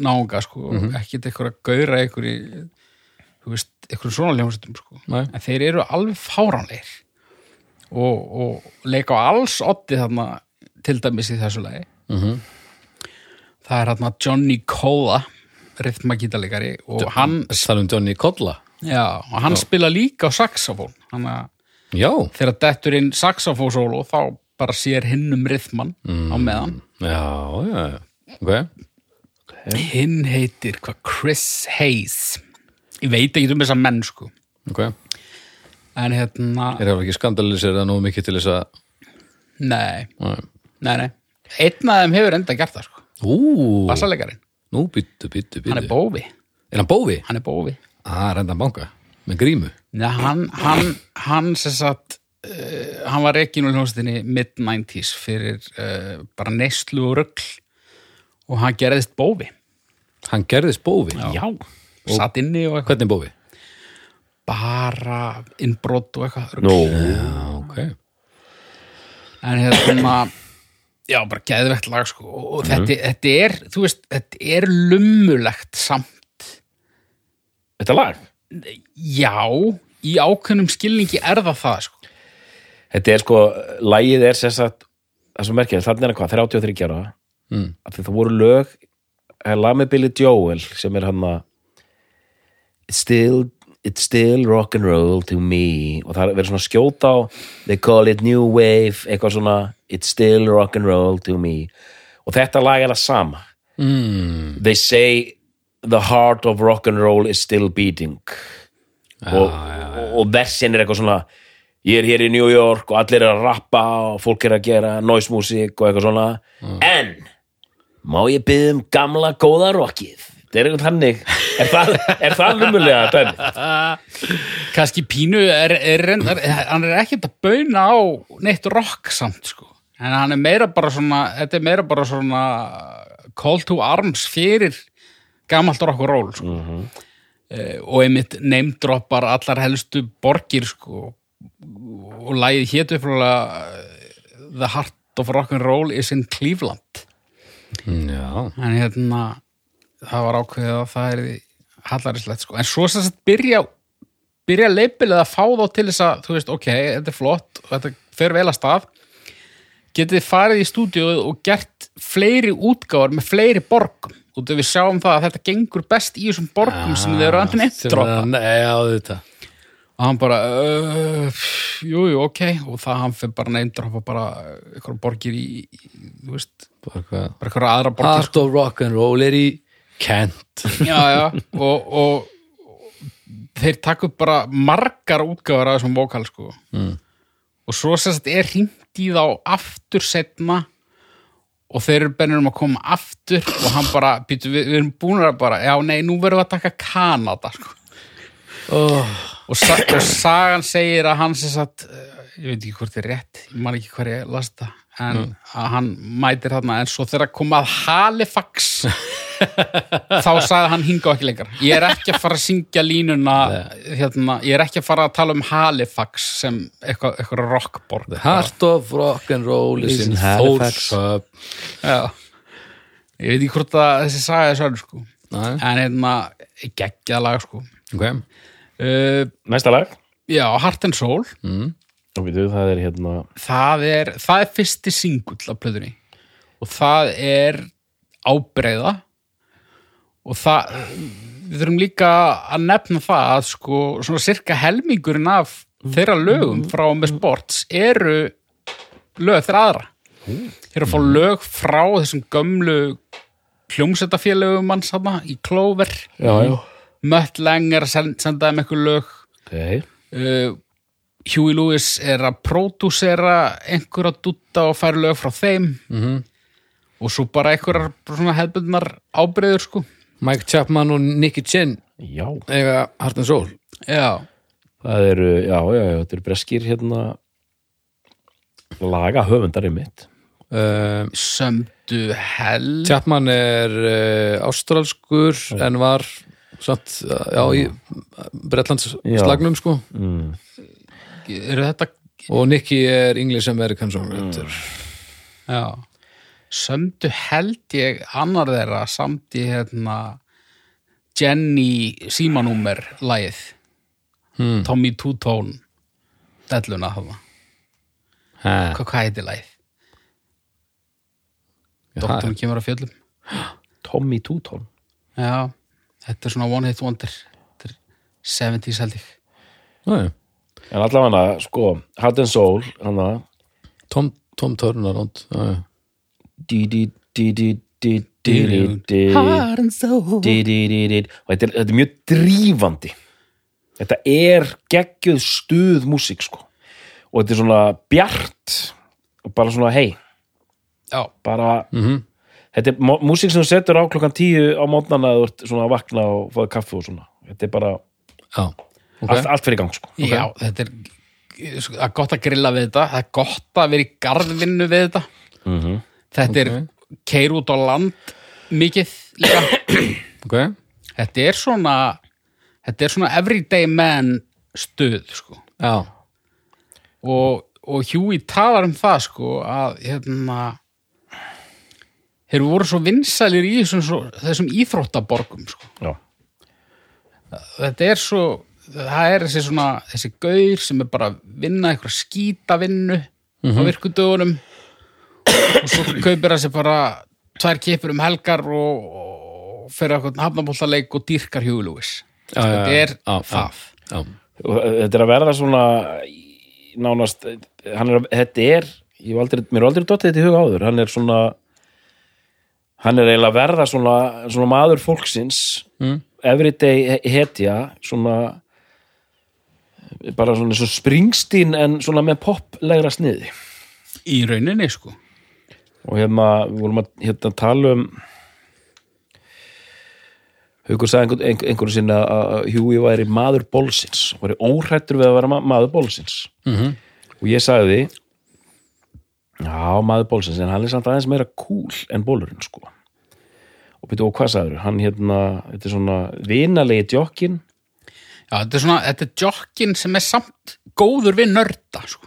náunga sko, ekkit einhverja gaura einhverju þú veist, einhverju svona hljómsveitum sko.
Nei.
en þeir eru alveg fáránleir og, og leika á alls otti þarna til dæmis í þessu lagi það er þarna Johnny Cola rithmagítarleikari og hann,
Ertu að tala um Johnny Kodla
já, og hann spila líka á saxofón hann að
já,
þegar dettur inn saxofósólu þá bara sér hinn um rithman á meðan.
já, já, já. ok
Hinn heitir hvað Chris Hayes. Ég veit ekki um þessa menn sko.
ok,
En hérna,
er það ekki skandalisir eða nóg mikið til þess að
nei,
Nei.
nei, nei. Einn af þeim hefur enda gert það sko.
ú,
Bassalegarinn.
nú býttu, býttu, býttu
Hann er bófi.
er hann bófi?
Hann er bófi.
að reynda að banka, með grímu
Nei, hann, hann, hann sem sagt, uh, hann var rekin úr hljómsveitinni mid-90s fyrir uh, bara neyslu og rugl og hann gerðist bófi.
hann gerðist bófi,
Já. Satt inni og eitthvað.
hvernig bófi?
bara innbrot og eitthvað rugl.
Nú,
já, Ah, ok,
en hérna já, bara geðvegt lag sko og og þetta, þetta er, þú veist, þetta er lummulegt samt
þetta lag
já, í ákveðnum skilningi er það það sko
þetta er sko, lagið er sem sagt það er svo merkilegt, þannig er hann hvað, 33 ára mm. af því það voru lög það er lag með Billy Joel sem er hann að it's still, it's still rock and roll to me og það er verið svona að skjóta á they call it new wave, eitthvað svona it's still rock and roll to me og þetta lag er það sama mm. they say the heart of rock and roll is still beating og, og- og versin er eitthvað svona ég er hér í New York og allir er að rappa og fólk er að gera noise music og eitthvað svona en má ég byggja um gamla góða rockið þetta er eitthvað þannig er það, er það lumulega dæmi
kannski Pínu er, er, er, hann er ekkert að bauna á neitt rock samt sko en hann er meira bara svona þetta er meira bara svona call to arms fyrir gamalt rock og roll sko. eh, og einmitt neymdroppar allar helstu borgir sko eh, og lagið hétu frá The Heart of Rock and Roll is in Cleveland
Mm, Já,
en hérna það var ákveðið að það er hallarislegt sko, en svo sem sagt byrja byrja leipilið að fá þá til þess að þú veist, ok, þetta er flott og þetta fer vel að stað getið þið farið í stúdíóið og gert fleiri útgáfar með fleiri borgum út af við sjáum það að þetta gengur best í þessum borgum sem þið eru andin uppdrópa
Sem að- Já, þetta
og hann bara "Uh, pff, jú, jú, ok og það hann fyrir bara neindrópa bara ykkur borgir í, í þú veist,
Bara hvað
bara ykkur aðra borgir sko.
Art of Rock'n'Roll er í Kent
já, já, og, og, og þeir takk upp bara margar útgáfur af þessum vokal sko. mm. og svo sem sagt er hringt í þá aftur setna og þeir eru bennir um að koma aftur og hann bara, býtu, við, við erum búin að bara já, nei, nú verðum við að taka Kanada sko. oh. og, sa og sagan segir að hann sem sagt, eh, ég veit ekki hvort er rétt ég man ekki hver ég las þetta en að hann mætir þarna en svo þegar kom að Halifax þá sagði hann hinga ekki lengur ég er ekki að fara að syngja línuna hérna, ég er ekki að fara að tala um Halifax sem eitthvað, eitthvað rockborg
The Heart of Rock'n'Roll is
Is
in
in Halifax.
Þórshöp
Já. ég veit ekki hvort að þessi sagði þessu sko.
Nei.
en hérna geggjað lag sko.
okay.
uh,
Næsta lag Mm.
já, Heart and Soul
og við þau það er hérna
það er, það er fyrsti singull af plöðunni og það er ábreyða og það við þurfum líka að nefna það að sko svona cirka helmingurinn af þeirra
Mm.
lögum frá og með sports eru lög þeirra aðra
Mm.
þeir eru að fá lög frá þessum gömlu hljómsetafélögum manns hana í Clover
já, já.
Mött Lang er að send- senda þeim eitthvað lög
Okay.
uh, Huey Lewis er að pródúsera einhverja dutta og færa lög frá þeim -hmm. og svo bara einhverjar bara svona hefðbundnar ábreyður sko
Mike Chapman og Nicky Chin
já,
eiga Heart and Soul
já,
það eru já, já, já, þetta eru breskir hérna laga höfundar í mitt
uh,
sömdu hell
Chapman er uh, ástralskur en var samt, eh, já, í Bretlands
Já. Mm.
slagnum sko
eru þetta
og Nicky er English American songwriter
Mm.
já. sömdu held ég annar þeirra samt í hérna Jenny símanúmer lagið hmm. Tommy Two Tone delluna hafa
mm.
hvað, hvað heitir lagið? Doktorinn kemur að fjöllum
Tommy Tutón
Já, þetta er svona one hit wonder Þetta er 70s held ég
en allavega, sko, Heart and Soul hana,
Tom, Tom Turner und, já, já.
dí dí dí dí dí dí dí dí
and soul
dí dí dí dí og þetta er, þetta er mjög drífandi þetta er geggjöð stuð músík sko og þetta er svona bjart og bara svona hei
Já,
bara, þetta er mó- músík sem þú setur á klokkan tíu á mótnana eða þú ert svona að vakna og fáið kaffi og svona þetta er bara
já. ok.
allt, allt fyrir gang sko
já þetta er það er gott að grilla við þetta það er gott að vera í garðvinnu við þetta Þetta er keir út á land mikið líka
ok
Þetta er svona þetta er svona everyday man stuð sko
já,
og, og Hjúi talar um það sko að hérna þeir voru svo vinsælir í þessum, svo, þessum íþróttaborgum sko.
já,
þetta er svo það er þessi svona, þessi gaur sem er bara að vinna einhverja skítavinnu á
Mhm.
virkudögunum og svo kaupir hann sér bara tvær kipur um helgar og, og fyrir eitthvað hafnabóltaleik og dýrkar hjúlúis
Já, já,
þetta
já.
er
Já,
það
já.
og eh, þetta er að verða svona í- nánast hann er, að- þetta er, ég hef aldrei mér er aldrei dottið þetta í huga áður, hann er svona hann er eiginlega að verða svona, svona maður fólksins mm. everyday he- hetja svona bara svona svo springstín en svona með poplegra sniði
í rauninni sko
og hérna, við vorum að hérna, tala um Haukur sagði einhvern, einhvern, einhvern sinni að- að Hjúi væri maður bólsins væri óhrættur við að vera ma- maður bólsins -hmm. og ég sagði já, maður bólsins en hann er samt aðeins meira cool en bólurinn sko og byrju, og hvað sagður, hann hérna þetta er svona vinalegi djokkin
Já, þetta er svona, þetta er jokkin sem er samt góður við nörda, sko.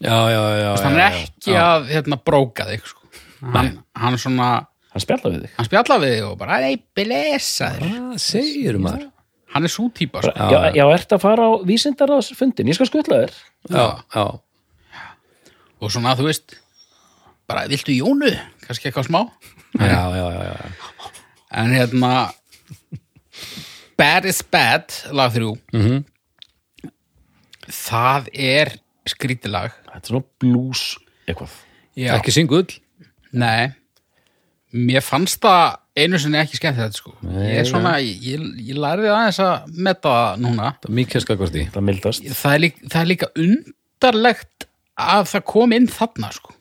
já, já, já, já,
Hann
já.
er ekki að, hérna, bróka þig, sko. Hann, hann svona,
hann spjalla við þig
hann spjalla við þig og bara ei, blessaður
Hvað segir maður?
hann er svo típa sko.
já, já, ert að fara á vísindarraðsfundin ég skal skutla þér
Já, já,
og svona þú veist bara viltu Jónu, kannski eitthvað smá
já, já, já, já.
en hérna Bad is Bad lag þrjú -hmm.
Mhm.
það er skrítilag
þetta er svona blues eitthvað
Já.
Ekki singull
Nei, mér fannst það einu sinni ekki skemmt þetta sko ég er svona, ég, ég lærði aðeins að metta það núna
Það er mikið skakvart í
það mildast
það er, líka, það er líka undarlegt að það kom inn þarna sko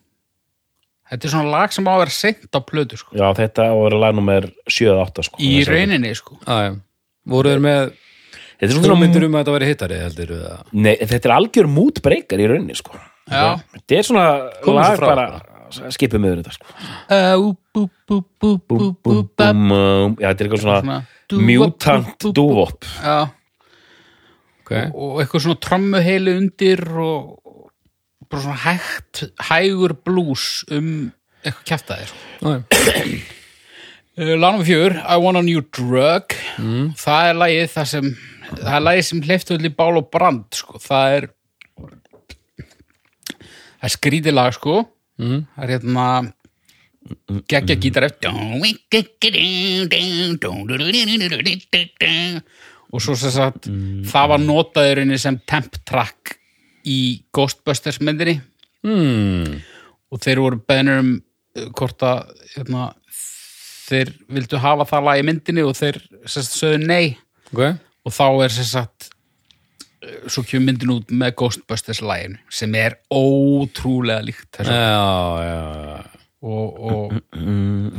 þetta er svona lag sem á að vera seint á plötu sko
já, þetta á að vera lag nummer 7-8 sko.
í
Þessi-
rauninni sko
Æ, voru þeir með
þetta er svona
hugmyndir um að þetta væri hittari heldur eða?
um-
Nei, þetta er algjör mútbreykar í rauninni sko.
Já.
þetta er svona
Komum
lag
svo frá,
bara skipum yfir þetta sko.
Ú, bú, bú, bú, bú,
búm,
bú,
búm,
bú,
búm, um, já, þetta er eitthvað svona
Svona dúvop,
mutant
búm, búm,
dúvop
Já,
Okay.
og eitthvað svona trommuheili undir og bara svona hægt, hægur blús um eitthvað kjaftaðir.
Æ,
Uh, Lánum fjör, I want a new drug. Það er lagið það sem, það er lagið sem hleyftu öll í bál og brand, sko. Það er, það er skrítið lag, sko. Mm. Það er hérna, geggja gítar eftir og svo sem sagt það var notaðurinni sem temp track í Ghostbusters myndinni
mm,
og þeir voru beðnir um uh, hvort að hérna, þeir vildu hafa það lag í myndinni og þeir sem sagt, sögðu nei
okay.
og þá er sem sagt uh, svo kemur myndin út með Ghostbusters lagin sem er ótrúlega líkt
Eh.
þessu
Já, já, já
og, og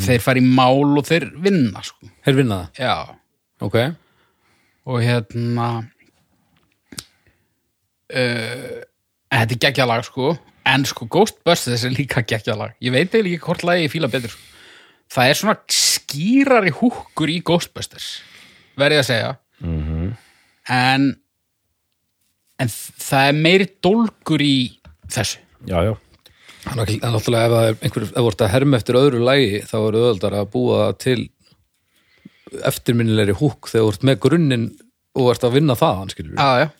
þeir fara í mál og þeir vinna sko.
Þeir vinna það,
já
ok
og hérna uh, þetta er geggjalag sko en sko Ghostbusters er líka geggjalag ég veit eiginlega ekki hvort lagi ég fíla betur sko. það er svona skýrari húkkur í Ghostbusters verið að segja -hmm. en en það er meiri dólgur í þessu
já, já,
Hann er náttúrulega ef það er einhver, ef þú ert að herma eftir öðru lægi þá eru öðuldar að búa til eftirminnilegri húk þegar þú ert með grunninn og ert að vinna það, hann skilur
ah, já.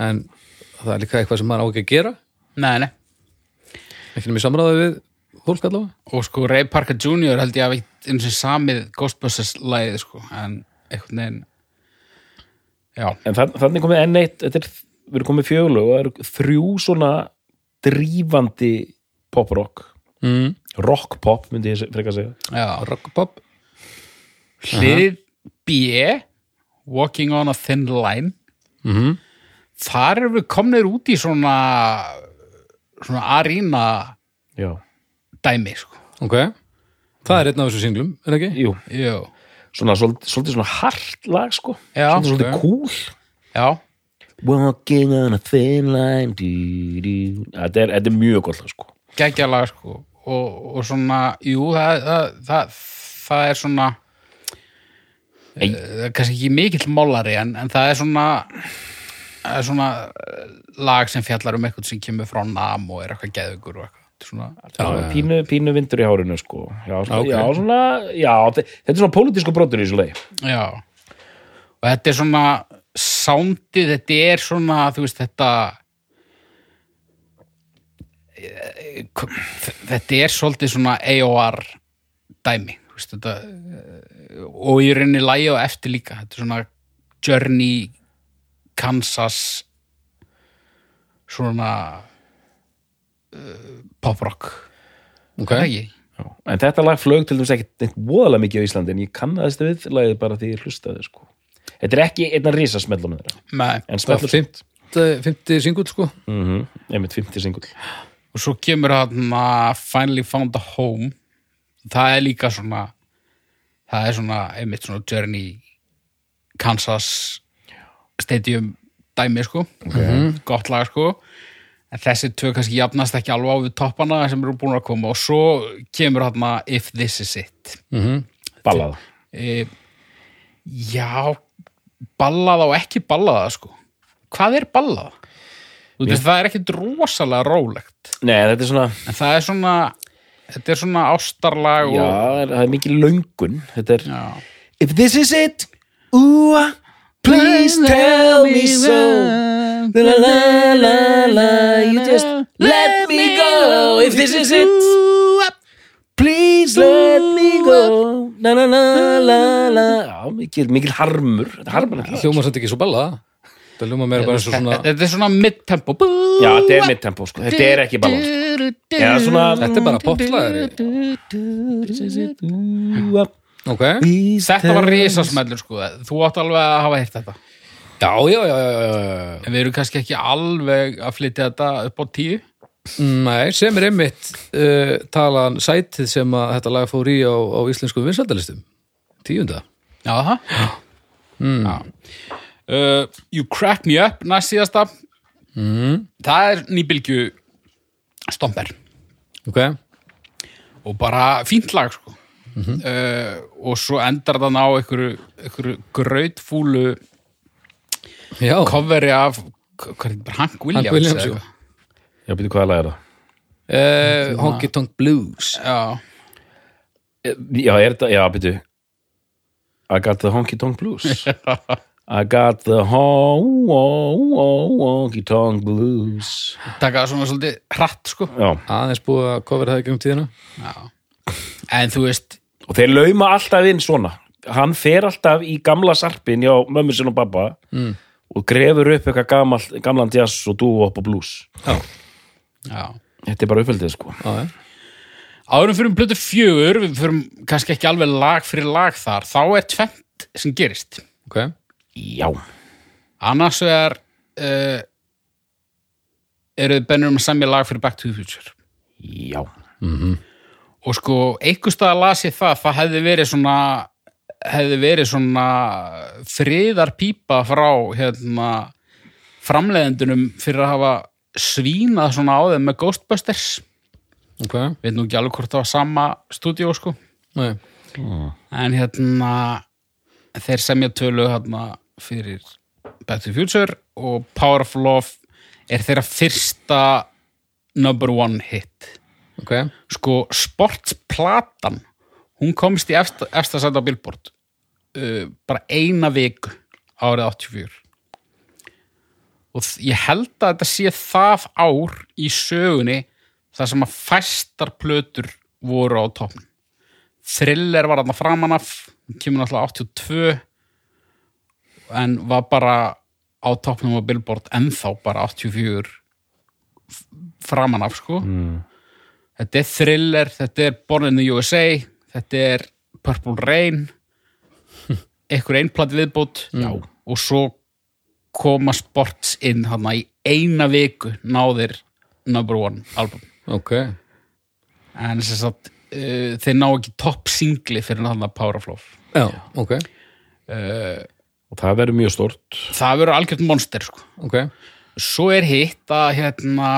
en það er líka eitthvað sem maður á ekki að gera
nei, nei.
ekki nefnir samræði við fólk allavega
og sko Ray Parker Jr. held ég að veit eins og samið Ghostbusters lagið sko en einhvern veginn já
en þann, þannig komið enn eitt þetta er, við erum komið fjöglu og það eru þrjú svona drífandi poprock
mm.
rock pop myndi ég se- frekar segja
Já,
Rockpop
hlið B Walking on a Thin Line
mm -hmm.
þar erum við komnir út í svona svona arína
já,
dæmi sko.
Ok, það er einn af þessu singlum, er það ekki?
jú,
Jú,
svona svol- svolítið svona hart lag sko,
Já,
svolítið, svolítið
ok.
cool
já,
walking on a thin line dí, dí. þetta er, þetta er mjög gott lag, sko
geggjala sko. og, og svona, jú það, það, það, það er svona
Ei.
eh, kannski ekki mikill málari en, en það er svona það er svona eh, lag sem fjallar um eitthvað sem kemur frá nam og er eitthvað geðugur og eitthvað Þetta er svona,
já, pínu, pínu vindur í hárinu sko. já, svona,
Ok.
já, svona, já, þe- þetta er svona pólitísku brotur í þessu leið
Já og þetta er svona soundið, þetta er svona þú veist þetta Eh, kom- þetta er svolítið svona AOR dæmi þú veist, þetta, eh, og ég reyni lægi og eftir líka þetta er svona Journey Kansas svona uh, poprock
Ok,
okay. ekki?
en þetta lag flög til þess ekkit neitt voðalega mikið á Íslandi en ég kannaðist við lagið bara því ég hlustaði sko. þetta er ekki einna risasmellum þeirra
Nei.
það
en
er
smellur
fimmt, fimmti singull sko
mm einmitt 50 singull
og svo kemur hann að Finally Found a Home það er líka svona það er svona, einmitt svona Journey Kansas Stadium dæmi sko gott lag sko en þessi tvö kannski jafnast ekki alveg á við toppana sem eru búin að koma og svo kemur hann að If This Is It
ballað
e, já ballaða og ekki ballaða sko hvað er ballaða? Þú veist, það er ekkit rosalega rólegt
nei, þetta er svona,
en það er svona þetta er svona ástarlag
Já,
og,
það er, það er mikið löngun Þetta er
já.
If this is it Ooh, ah, please tell me so La la la la You just let me go ah, If this is it Please let me go La la la la la Já, mikil, mikil harmur Þetta er harmur Já,
Hljóma samt ekki svo balla Það hljóma meira bara eins og svona
þetta er svona mid-tempo
þetta er mitt tempo sko Þetta er ekki ballast Já, svona
Þetta er bara poplæðari
ah."
Ok
þetta var risasmellur sko þú átt alveg að hafa heyrt þetta
Já, já, já, já, já, já.
en við erum kannski ekki alveg að flytja þetta upp á tíu
Nei, sem er einmitt uh, talan sætið sem að þetta lag fór í á, á íslensku vinsaldalistum Tíunda
Já, það
Hmm.
mm. uh, You Crack Me Up næst síðasta mm.
Hmm.
Það er nýbylgju stomper
Ok,
og bara fínt lag sko.
Mhm.
uh, og svo endar það ná einhverju, einhverju grautfúlu
já
coveri af hvað er þetta, bara Hank Williams,
Hank Williams,
eða
jú.
eitthvað?
Já, byrju hvað að læra
uh, Honky Tonk Blues
Já,
Já, er þetta, já, byrju I got the honky tonk blues I got the hon- hon- hon- honky tonk blues
taka það svona svolítið hratt sko.
Já,
Aðeins búið að cover það í um tíðina
en þú veist
og þeir lauma alltaf inn svona hann fer alltaf í gamla sarpin hjá mömmu sinni og babba mm. og grefur upp eitthvað gamall, gamlan jazz og dúo upp og blues
já.
þetta er bara uppfældið sko
Já, já
áðurum fyrir um plötu fjögur við fyrir kannski ekki alveg lag fyrir lag þar þá er tvennt sem gerist
Ok,
já,
annars vegar uh, eru þið bennur um að semja lag fyrir Back to the Future
já
og sko, einhvers staðar las ég það það hefði verið svona hefði verið svona friðarpípa frá hérna, framleiðendunum fyrir að hafa svínað svona á þeim með Ghostbusters
ok
veit nú ekki alveg hvort það var sama stúdíó sko
Nei.
en hérna þeir semja tölu hérna fyrir Back to the Future og Power of Love er þeirra fyrsta number one hit
Ok,
sko sportsplatan hún komst í efsta, efsta sæti á Billboard uh, bara eina viku árið 84 og þ- ég held að þetta sé það ár í sögunni þar sem að fæstar plötur voru á topn thriller var þarna framan af hún kemur náttúrulega 82 en var bara á topnum á Billboard ennþá bara 84 f- framan af sko þetta er thriller, þetta er Born in the USA þetta er Purple Rain einhver einplatt viðbútt Já. og svo koma sports inn hana í eina viku náðir number one album
ok
en sem sagt uh, þeir ná ekki topp singli fyrir hana Power of Love
Já, ok,
og það verður mjög stort
það verður algjört monster sko
ok
svo er hitt að hérna,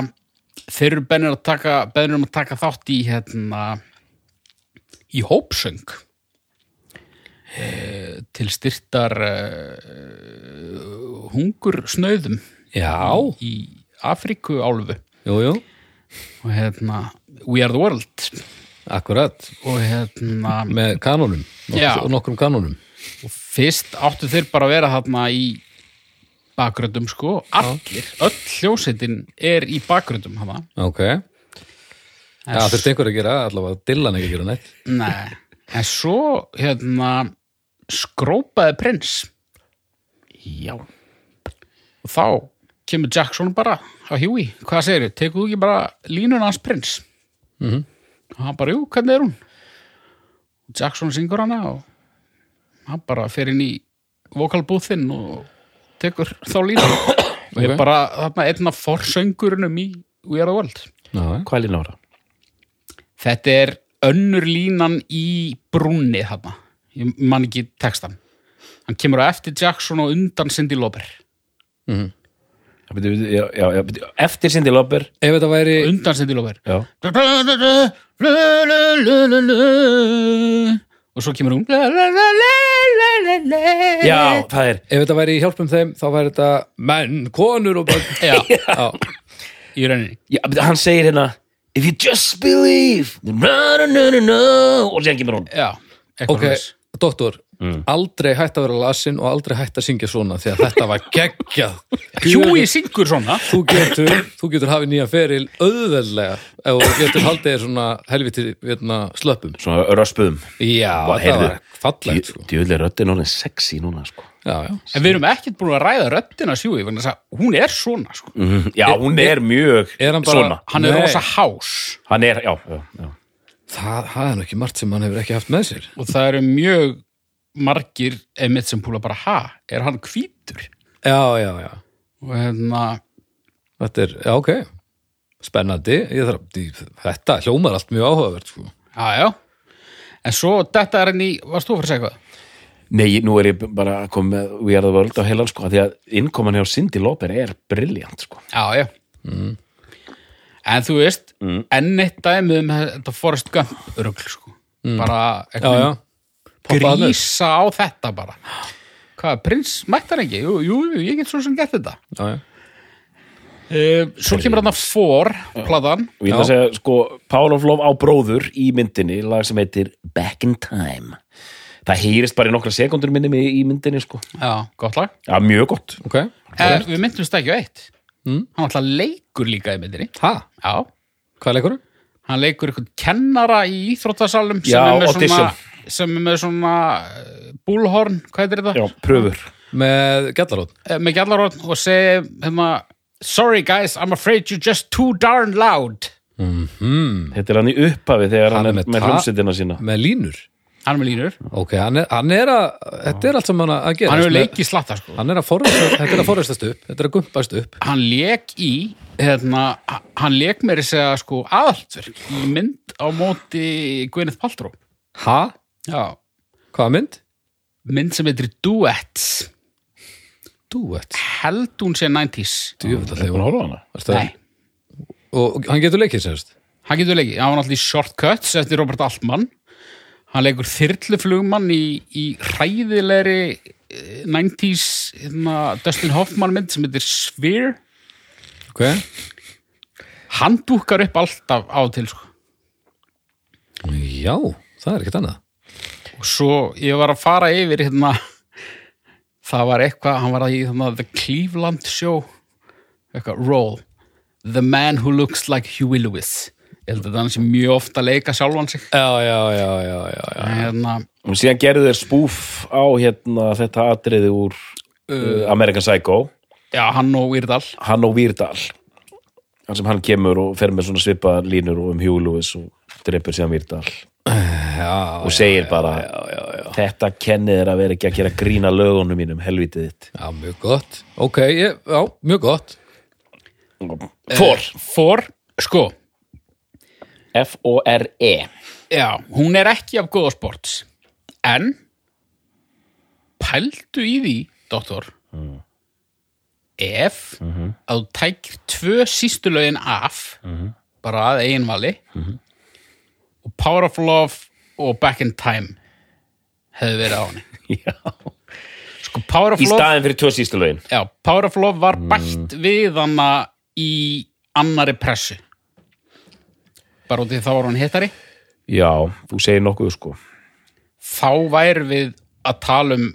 þeir eru bennir að taka, bennir um að taka þátt í hérna, í hópsöng e, til styrtar e, hungursnauðum
Já,
í Afríku álfu
jú, jú,
og hérna We are the world
akkurat
og hérna
Með kanónum nokk-
Já.
og nokkrum kanónum
og fyrst áttu þeir bara að vera þarna í bakgröndum sko allir, öll hljósetin er í bakgröndum hana
Ok Já, þurfti einhver að gera, allavega Dylan ekki að gera neitt
Nei, en svo hérna skrópaði prins
já,
og þá kemur Jackson bara á Huey, hvað segir þau, tekur þú ekki bara línuna hans prins og hann bara, jú, hvernig er hún og Jackson syngur hana og hann bara fer inn í vokalbúðinn og tekur þá línu og
Ok.
er bara þarna einn af forsöngurunum í We Are The World
Já, já.
hvað er línára?
Þetta er önnur línan í brúnni þarna. Ég man ekki textan. Hann kemur á eftir Jackson og undan Cindy Lauper.
Já, byrju, já, já, já, byrju, eftir Cindy Lauper
Ef þetta væri
Undan Cindy Lauper.
já,
Og svo kemur hún.
já, það er
Ef þetta væri í hjálpum þeim, þá væri þetta menn, konur og börn
Já,
Já,
í rauninni.
já, byrju, hann segir hérna if you just believe na, na, na, na, na, og sér kemur hún
já, eitthvað
ok,
svoleiðis.
doktor aldrei hætt að vera lasin og aldrei hætt að syngja svona því að þetta var geggjað
Hjúi syngur svona
þú getur, þú getur hafið nýja feril auðveldlega ef þú getur haldið þér svona helviti hérna, slöppum
svona röspuðum
já, þetta
heyrðu,
var fallegt sko.
djöðlega röddin orðin sexy núna sko.
já, já.
En við erum ekkert búin að ræða röddina sjúi vegna þess að hún er svona sko.
já, hún Mhm. er mjög
er hann bara-
svona
Hann er
Nei.
rosa hás
hann er, já, já, já.
Það, það er nú ekki margt sem hann hefur ekki haft með sér
og það eru mjög margir emitt sem púla bara ha, er hann hvítur?
já, já, já
Og hérna,
þetta er, já, ok spennandi, ég þarf, ég- þetta hljómar allt mjög áhugavert sko.
já, já En svo þetta er henni, varst þú að fara að segja eitthvað?
Nei, nú er ég bara að koma með We are the world á heilan sko, af því að innkoman hjá Cindy Lauper er briljant sko.
Já, já Mm. En þú veist, enn eitt dæmið um þetta Forrest Gump örugl sko. bara
já, já,
eitthvað
Poppaði hann upp.
grísa á þetta bara Hvað, prins mættar ekki? Jú, jú, jú, ég get svo sem gett þetta
já, já.
Uh, svo kemur hann að for, pladan
Og ég ætla að segja, sko, Pál of Love á bróður í myndinni, lag sem heitir Back in Time. Það heyrist bara í nokkra sekundur minni mig í myndinni sko.
Já, gott lag
Já, mjög gott.
ok,
eh, Við myndumst ekki á eitt
Mm.
Hann alltaf leikur líka í myndinni
ha,
Já,
hvað leikur hann?
hann leikur eitthvað kennara í íþróttasalum sem,
Já,
er með svona,
audition.
sem er með svona eh, búlhorn, hvað er þetta?
Já, pröfur.
með gællarótt
Eh, Með gjallarhorn og segi hérna, Sorry guys, I'm afraid you're just too darn loud
Þetta er hann í upphafi þegar
Hann
hann,
er með
er með
ta-
hljómsveitina sína.
með línur
Hann er með línur,
ok, hann er, hann er að, þetta er allt sem hann að gera
hann hefur leik í slatta sko.
hann er að forresta, þetta er að forrestast upp þetta er að gumpast upp
Hann leik í hérna, h- hann leik meiri segja sko, aðaltverk í mynd á móti Gwyneth Paltrow
ha,
Já,
hvaða mynd?
mynd sem heitir Duets
duet,
held hún sé 90s
djúvill að
Búin
leifa
að horfa á hana?
Nei,
og og hann getur leikið sérst
hann getur leikið, hann var alltaf í Shortcuts eftir Robert Altman hann leikur þyrluflugmann í, í hræðilegri eh, 90s hérna, Dustin Hoffman mynd sem heitir Sphere
ok,
hann dúkkar upp alltaf á og til sko.
já, það er ekkert annað
og svo ég var að fara yfir hérna það var eitthvað, hann var í hérna, The Cleveland Show eitthvað, Roll The Man Who Looks Like Huey Lewis ég held að það hann sé mjög ofta að leika sjálfan sig
já, já, já, já, já, já.
hérna,
Og síðan gerðu þeir spúf á hérna þetta atriði úr uh, American Psycho,
já, hann og Weirdal
hann og Výrdal. Hann sem hann kemur og fer með svona svipaðar línur og um Hugh Lewis og drepur síðan Výrdal.
já,
og segir bara þetta kennið er að vera ekki að gera grína lögunum mínum, helvitið þitt
já, mjög gott ok, ég, já, mjög gott
For,
For, Eh, sko,
F-O-R-E
já, hún er ekki af góða sports, en pældu í því, doktor, ef að þú tækir tvö sístu lögin af, bara að eiginvali, og Power of Love og Back in Time hefði verið á henni.
Já.
Sko, Power of
í
Love,
staðin fyrir tvö sístu lögin
já, Power of Love var bætt við hana í annari pressu. Bara út í þá var hún hittari.
já, þú segir nokkuð sko
þá værum við að tala um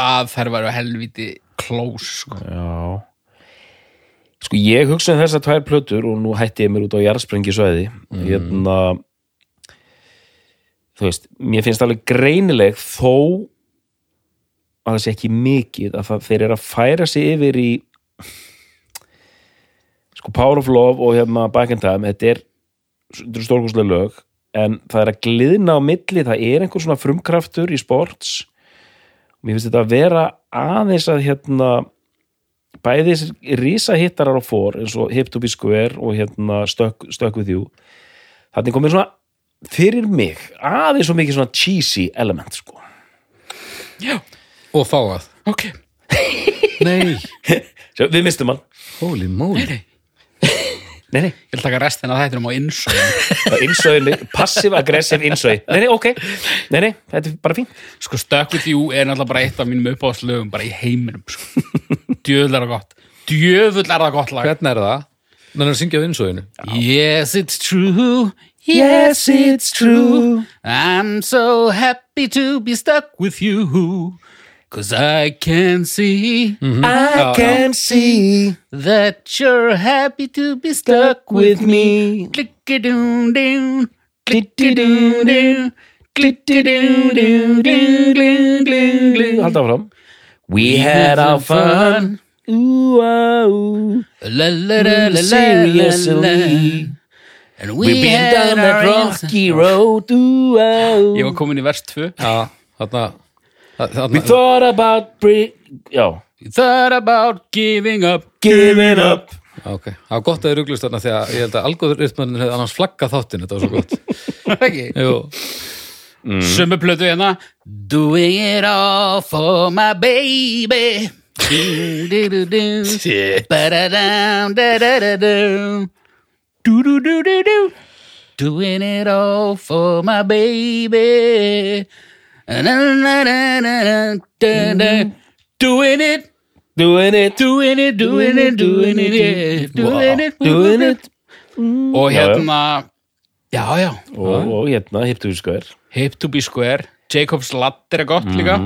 að þær væru helviti close sko.
já sko ég hugsa um þessar tvær plötur og nú hætti ég mér út á jarðsprengisvæði hérna þú veist, mér finnst alveg greinileg þó að það sé ekki mikið að það, þeir eru að færa sig yfir í sko Power of Love og hérna Back in Time þetta er, þetta er stórkoslega lög en það er að gliðna á milli það er einhver svona frumkraftur í sports og mér finnst þetta að vera aðeins að hérna bæði þessir risahittarar á fór eins og Hip to be square og hérna Stuck, stuck with you þannig komið svona fyrir mig aðeins svo mikið svona cheesy element sko.
og fáað,
ok,
nei,
Sjá, við mistum hann
holy moly
nei, nei,
ég vil taka restina af þættinum á innsóðum
það er innsöðin passiv-aggressiv innsöði nei, nei, ok, nei, nei, þetta er bara fín
sko Stuck With You er náttúrulega bara eitt af mínum uppáðslögum bara í heiminum sko. djöðl er það gott djöðl er það gott lag
hvernig er það? Menn að syngja á innsóinu
Yes, it's true. Yes, it's true. I'm so happy to be stuck with you. Cause I can see
I can see
that you're happy to be stuck with me. Click-a-doon-doon, click-a-doon-doon, click-a-doon-doon, gling, gling, gling, gling.
Halda áfram
We had our fun.
Ooh, ah, ooh.
La, la, la, la, la, la, la.
Seriously
And
We've
we
been down
had
that
our
rocky road Ooh, ah,
Ég var
ooh
komin í vers 2
Já, þarna
We
Þarna
thought about bri- Já
Thought about giving up
Giving up
Já, ok. Það var gott að þið ruglust þarna því að ég held að algoritmanin hefði annars flaggað þáttin, þetta var svo gott.
Ekki
Jú,
Mm.
Summu plötu hérna Doing it all for my baby Du-du-du-du Ba-da-dam Da-da-da-dum Du-du-du-du-du Doing it all for my baby Na-na-na-na-na-na-na-na. Doing it
Doing it
Doing it, doing it, doing it yeah. Doing it,
Doing it
Og
Já, já.
hérna Já, já
Og og hérna, hiptu við skoðir
Hip to be square Jacob's Ladder er gott líka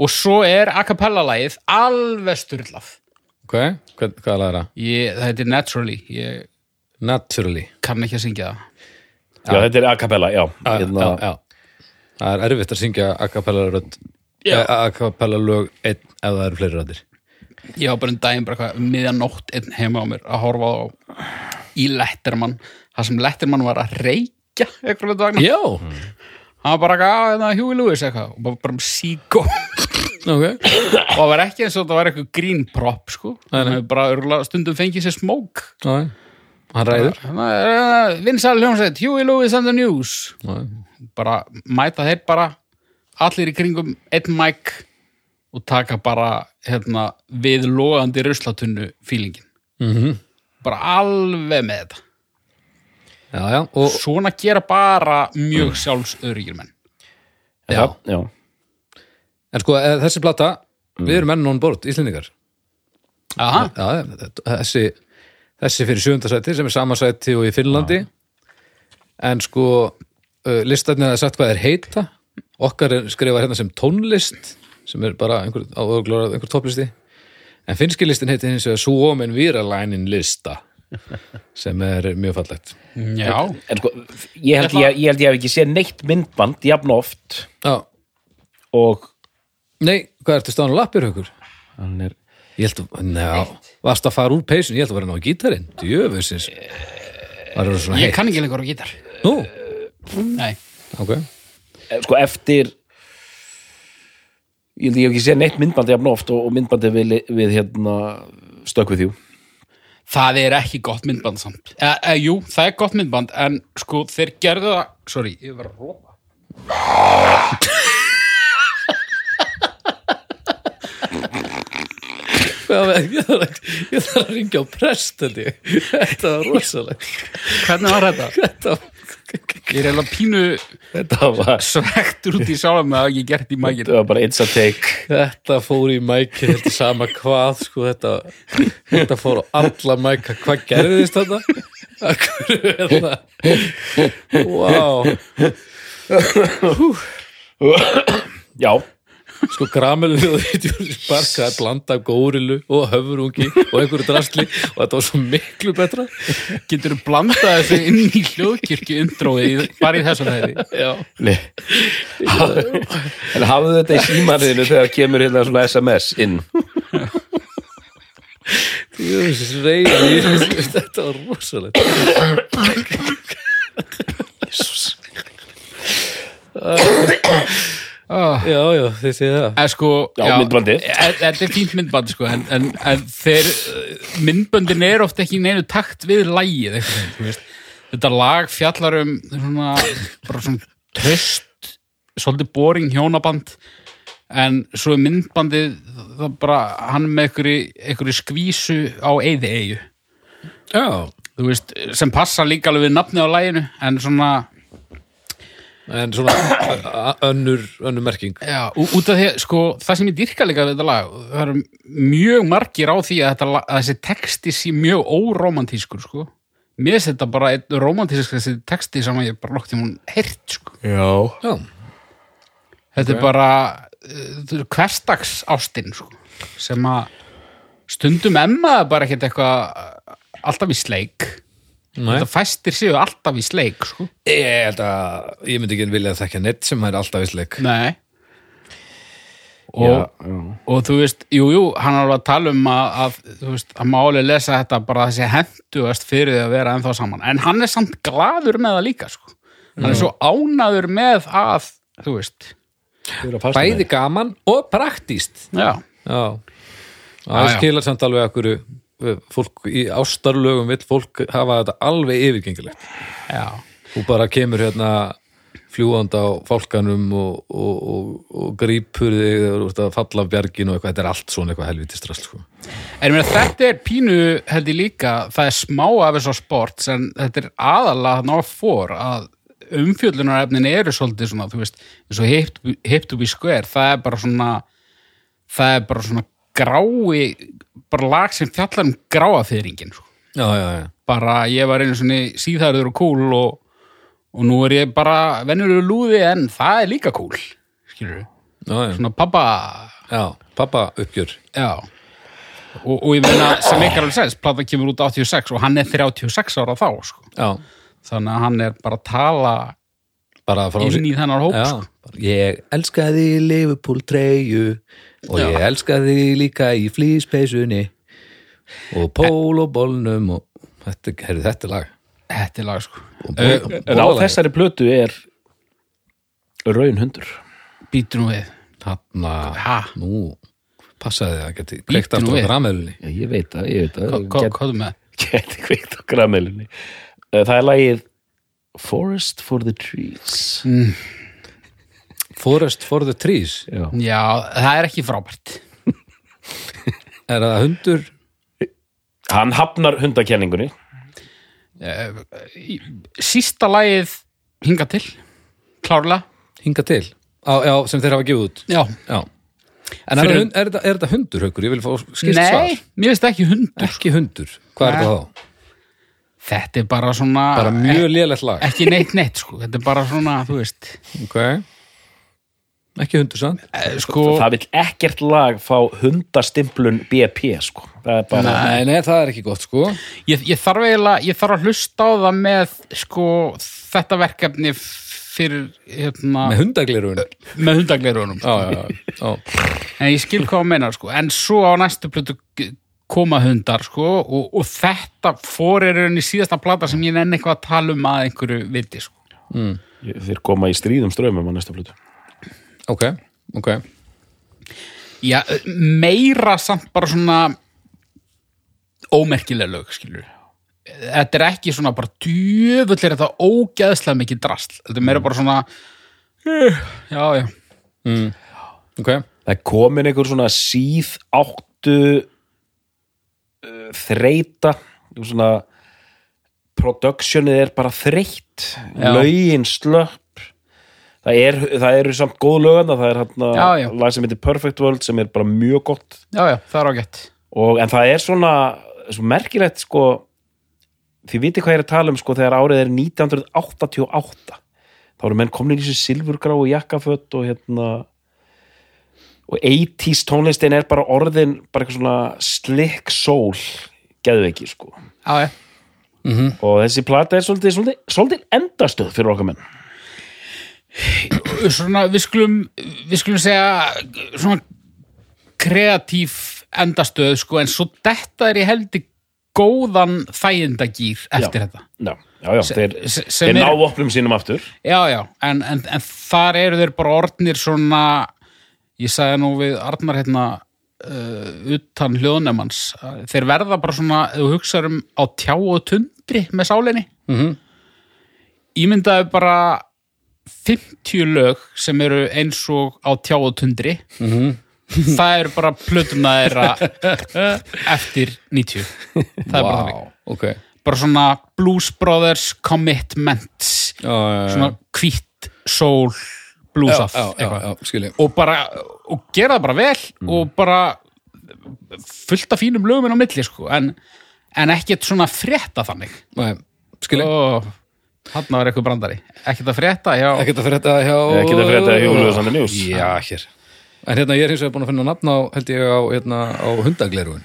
og svo er a cappella lagið alveg styrlað
ok, Hvern, hvað er það?
ég, það heitir Naturally ég
Naturally.
kann ekki að syngja það
Já, þetta er a cappella, já
Já,
Hérna,
já, já. Það er erfitt að syngja a cappella rödd, eh, a cappella lög einn ef það eru fleiri röddir.
ég var bara um daginn bara hvað, um miðjanótt einn heima á mér að horfa á í Letterman, það sem Letterman var að reykja eitthvað hlut vegna
Já,
hann var bara eitthvað, að það Huey Lewis eitthvað og bara, bara um síkó og
ok.
það var ekki eins og það var eitthvað green prop sko, hann hefur bara örugglega stundum fengið sér smók
Já, já. hann ræður.
vinsal Hérna, eh, hljómsveit, Huey Lewis and the News bara mæta þeir bara allir í kringum einn mæk og taka bara hérna, við logandi ruslatunnu fílingin -hmm. bara alveg með þetta
Já, já, og
svona gera bara mjög sjálfsöryggir menn
já.
hérna, já
En sko, eh, þessi plata, við erum enn on board, Íslendingar.
Aha.
Já, þessi, þessi fyrir sjöfundasæti sem er samasæti og í Finnlandi en sko uh, listarnir hafa sagt hvað er heita okkar er skrifað hérna sem tónlist sem er bara einhver, á öglur einhver topplisti en finski listin heitir hins vegar Suomen Viralænin lista sem er mjög fallegt
já,
En sko, ég held ég, ég held ég hef ekki séð neitt myndband jafn oft
Já,
og
nei, hvað ertu stáðan á lappir haukur?
hann er
Ég held að, njá, varst að fara úr peysun ég held að vera ná gítarinn, djöfusins var það svona
ég
heitt
kann ekki lengur á gítar
Nú,
nei,
ok
eh, sko eftir ég held ég hef ekki séð neitt myndband jafn oft og, og myndbandi við, við hérna stökk við þjú
það er ekki gott myndband samt e, e, jú, það er gott myndband en sko þeir gerðu það sorry, ég var að rópa
Hvað með- Ég þarf að, ég þarf að ringja á prest held ég. Þetta var rosalegt
hvernig var þetta?
Þetta,
ég er eiginlega pínu
þetta var,
svektur út í sjálfum að ég gert í mækinu
þetta var bara it's a take
þetta fór í mæki Þetta er sama hvað sko, þetta, þetta fór á alla mæka Hvað gerðist þetta? Af hverju er þetta? Wow.
já,
Sko gramelu og barka að blanda af górilu og höfurungi og einhverju drastli og þetta var svo miklu betra
Getur þú blandað þessu inn í hljóðkirkju indróið bara í þessum þeirri?
Já,
nei en hafðu þetta í símanriðinu þegar kemur hérna svona sms inn
jöfis reyði Þetta var rosalegt
Oh.
Ah. Já, já, þið séð það
En sko,
Já, myndbandið.
e- e- Þetta er fínt myndband sko, en, en, en þeir, eh, myndböndin er ofta ekki í neinu takt við lægið, eitthvað, þeim, þú veist. Þetta lag fjallar um svona, bara svona tröst, svolítið boring hjónaband, en svo er myndbandið, það bara, hann er með einhverju, einhverju skvísu á eyði eigu.
Já,
þú veist, sem passa líka alveg við nafnið á læginu en svona
en svona ö- ö- önnur, önnur merking
Já, ú- út af því, að, sko, það sem ég dyrka líka við þetta lag, það eru mjög margir á því að, þetta, lag- að þessi texti sé mjög óromantískur, sko. Mér finnst þetta bara einn romantískur þessi texti sem að ég bara lokti hún heyrt, sko.
Já.
já,
Þetta er bara uh, hverstags ástin, sko, sem að stundum emma það bara ekkert eitthvað uh, alltaf í sleik.
Nei.
Þetta fæstir séu alltaf í sleik, sko.
ég held að ég myndi ekki vilja þekka neitt sem er alltaf vissleik
Nei og, og þú veist, jú, jú, hann er alveg að tala um að, að þú veist, að máli lesa þetta bara þessi henduast fyrir því að vera ennþá saman, en hann er samt gladur með það líka, sko hann er svo ánaður með að þú veist,
bæði gaman og praktíst
já,
já, það
Já, já.
skilar samt alveg okkur fólk í ástarlögum vill fólk hafa þetta alveg yfirgengilegt
já
og bara kemur hérna fljúandi á fálkanum og, og, og, og grípur þig þegar þú ert að falla af bjarginu og eitthvað, þetta er allt svona eitthvað helviti strassl sko.
En mér, þetta er pínu, held ég líka, það er smá af þessu sports en þetta er aðalega ná fór að umfjöllunarefnin eru svolítið svona, þú veist, eins og hip to- hip to be square, það er bara svona það er bara svona grái, bara lag sem fjallar um gráaþyringin, sko.
Já, já, já,
Bara ég var einu svona síðarður og kúl og, og nú er ég bara venjulegu lúði en það er líka kúl, skilur við.
já, já.
Svona pappa
já pappa uppgjör
Já og, og ég meina sem ekki alveg sens plata kemur út 86 og hann er 36 ára þá sko.
já,
þannig að hann er bara að tala
bara frá
inn í þennan hóp
já,
sko.
bara, ég elskaði Liverpool treyju og ég elskaði líka í flýspeysunni og pól og bolnum og þetta, herri, þetta er lag
þetta er lag sko.
og,
En á
og,
þessari plötu er raun hundur
býtu nú við
þarna,
Ha?
nú passaði það geti
Bíddu
kveikt aftur
nú
á
við.
gramelunni
Já, ég veit að, ég veit að
Hva- hva- hvað er með
Geti kveikt á grammelinni Það er lagið Forest for the Trees
Forest for the Trees
Já,
já, það er ekki frábært
er það hundur
Hann hafnar hundakenningunni
Eh, í- sísta lagið hinga til klárlega
hinga til á, já, sem þeir hafa gefið út
já.
já. en er,
Fyrir-
hund, er, þetta- er þetta hundur haukur, ég vil fá skipt svar
nei, mér finnst það ekki hundur
ekki hundur, hvað er
Nei.
þetta þá?
þetta er bara svona e-
bara mjög lélegt lag
ekki neitt neitt sko. þetta er bara svona, þú veist
okay. ekki hundur sann
eh, sko,
Það vill ekkert lag fá hundastimplun BP sko Það er bara
nei, nei, það er ekki gott sko
Ég, ég þarf eiginlega, ég þarf að hlusta á það með sko þetta verkefni fyrir hérna,
með hundaglirun
með hundagleirunum
já, já, já, já.
en ég skil hvað að meina sko en svo á næstu plötu g- koma hundar sko og, og þetta fór er í síðasta plata sem ég nenni eitthvað að tala um að einhverju viti sko
Þeir koma í stríðum strömmum á næsta plötu
ok, ok
Já, meira samt bara svona ómerkilega lög, skilur Þetta er ekki svona bara djöfull er þetta ógeðslega mikið drasl. Þetta er meira bara svona "Eh, já, já,
ok,
Það er komin einhver svona síð áttu uh, þreita einhver svona productionið er bara þreytt
Já.
lögin slöpp það, er, það eru samt góð lögana það er
Já, já.
hann lag sem heitir Perfect World sem er bara mjög gott
já, já, það er ágætt
og, en það er svona svo merkilegt sko þið viti hvað ég er að tala um sko þegar árið er 1988 þá eru menn komin í þessu silfurgrá og jakkafött og hérna og 80s tónlistin er bara orðin bara eitthvað svona slick soul geðveiki sko
Já, já,
og þessi plata er svolítið, svolítið, svolítið endastöð fyrir okkar menn
svona við skulum við skulum segja svona kreatíf endastöð, sko, en svo þetta er ég held í góðan þægindagýr eftir þetta.
já, já, já, þeir,
se- sem
þeir
er-
ná opnum sínum aftur
Já, já, en, en, en þar eru þeir bara orðnir svona ég sagði nú við Arnar hérna uh, utan hljóðnefans þeir verða bara svona, ef þú hugsaður um á tjá og tundri með sálinni mm -hmm. ímyndaðu bara 50 lög sem eru eins og á tjá og tundri mm -hmm. það eru bara plötuna þeirra eftir 90 það er bara þannig
wow. ok já,
bara svona Blues Brothers Commitments
já, já, já.
svona hvitt hvitt, sól, blúsaf
já, já, Mm. já, skilji
og bara, og gera það bara vel og bara fullt af fínum lögum inn á milli sko, en, en ekkert svona frétta þannig
Nei, skilji,
og þarna var eitthvað brandari ekkert að frétta, já,
ekkert að frétta hjá
Ekkert að frétta hjá
um
Júlíu Sander News.
Já, hér En hérna, ég er hins vegar búin að finna nafn á, held ég, á, hérna, á hundagleruun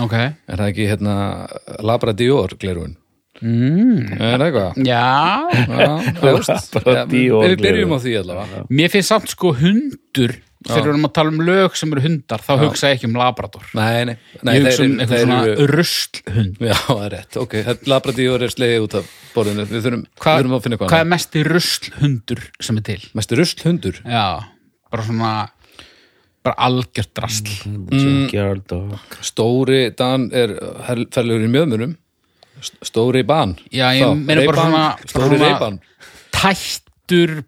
ok
Er það ekki, hérna, Labrador gleruun? Mm. Er það eitthvað?
já,
Já, þú veist.
Labrador
Við byrjum á
gleraugun.
því allavega
mér finnst samt sko hundur þegar við erum að tala um lög sem eru hundar þá hugsa ég ekki um labrador
Nei, nei, nei
ég hugsa
þeir-
um eitthvað
þeir
svona
eru-
ruslhund
Já, það er rétt, ok, þetta Labrador er slegið út af borðinu, við þurfum, við þurfum að finna
hvað
eitthvað
er mesti ruslhundur sem er til
Mestu rusl hundur
já, bara svona bara algjört drasl
Junkyard og
Stóri Dan er ferlegur í mjöðmunum St- Stóri Ban
Já, ég
Þá,
meina bara
Ray-Ban,
svona- bara
Stóri
svona-
Reyban
tættur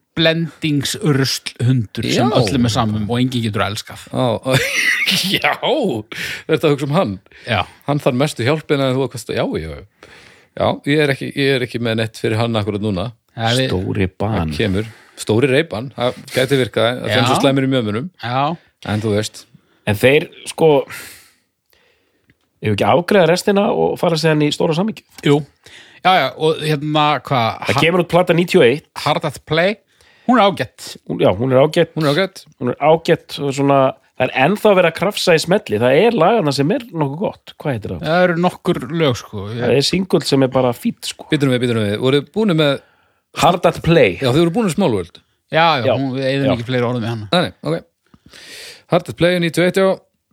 blendingsruslhundur sem
Já.
öllum er samum og enginn getur elskað
Já, þetta hugsa um hann
já,
Hann þarf mestu hjálpina en þú að kosta Já, já, já, já ég, er ekki, ég er ekki með nett fyrir hann akkurat núna
ja, við,
Dóri Ban
Kemur, Stóri Reyban Það gæti virkað, það
Já.
finnst svo slæmur í mjöðmunum
já,
En þú veist,
En þeir, sko ef ekki afgreða restina og fara séðan í stóra samíkju
jú já, já, og hérna hvað
Það kemur út plata 91
Hard at Play, hún er ágætt
hún, Já, hún er ágætt
hún er ágætt
hún er ágætt og svona það er ennþá verið að krafsa í smelli það er lagana sem er nokkuð gott hvað heitir það?
það eru nokkur lög sko
það er singull sem er bara fýtt sko
Býtum við, býtum við, voru búinu með
Hard at Play
Já, þau voru búinu smálvöld
já, já,
Já.
hún, við eigðum
Já.
ekki fleiri orðum í hana
Nei, nei, ok Hard at play 91 já.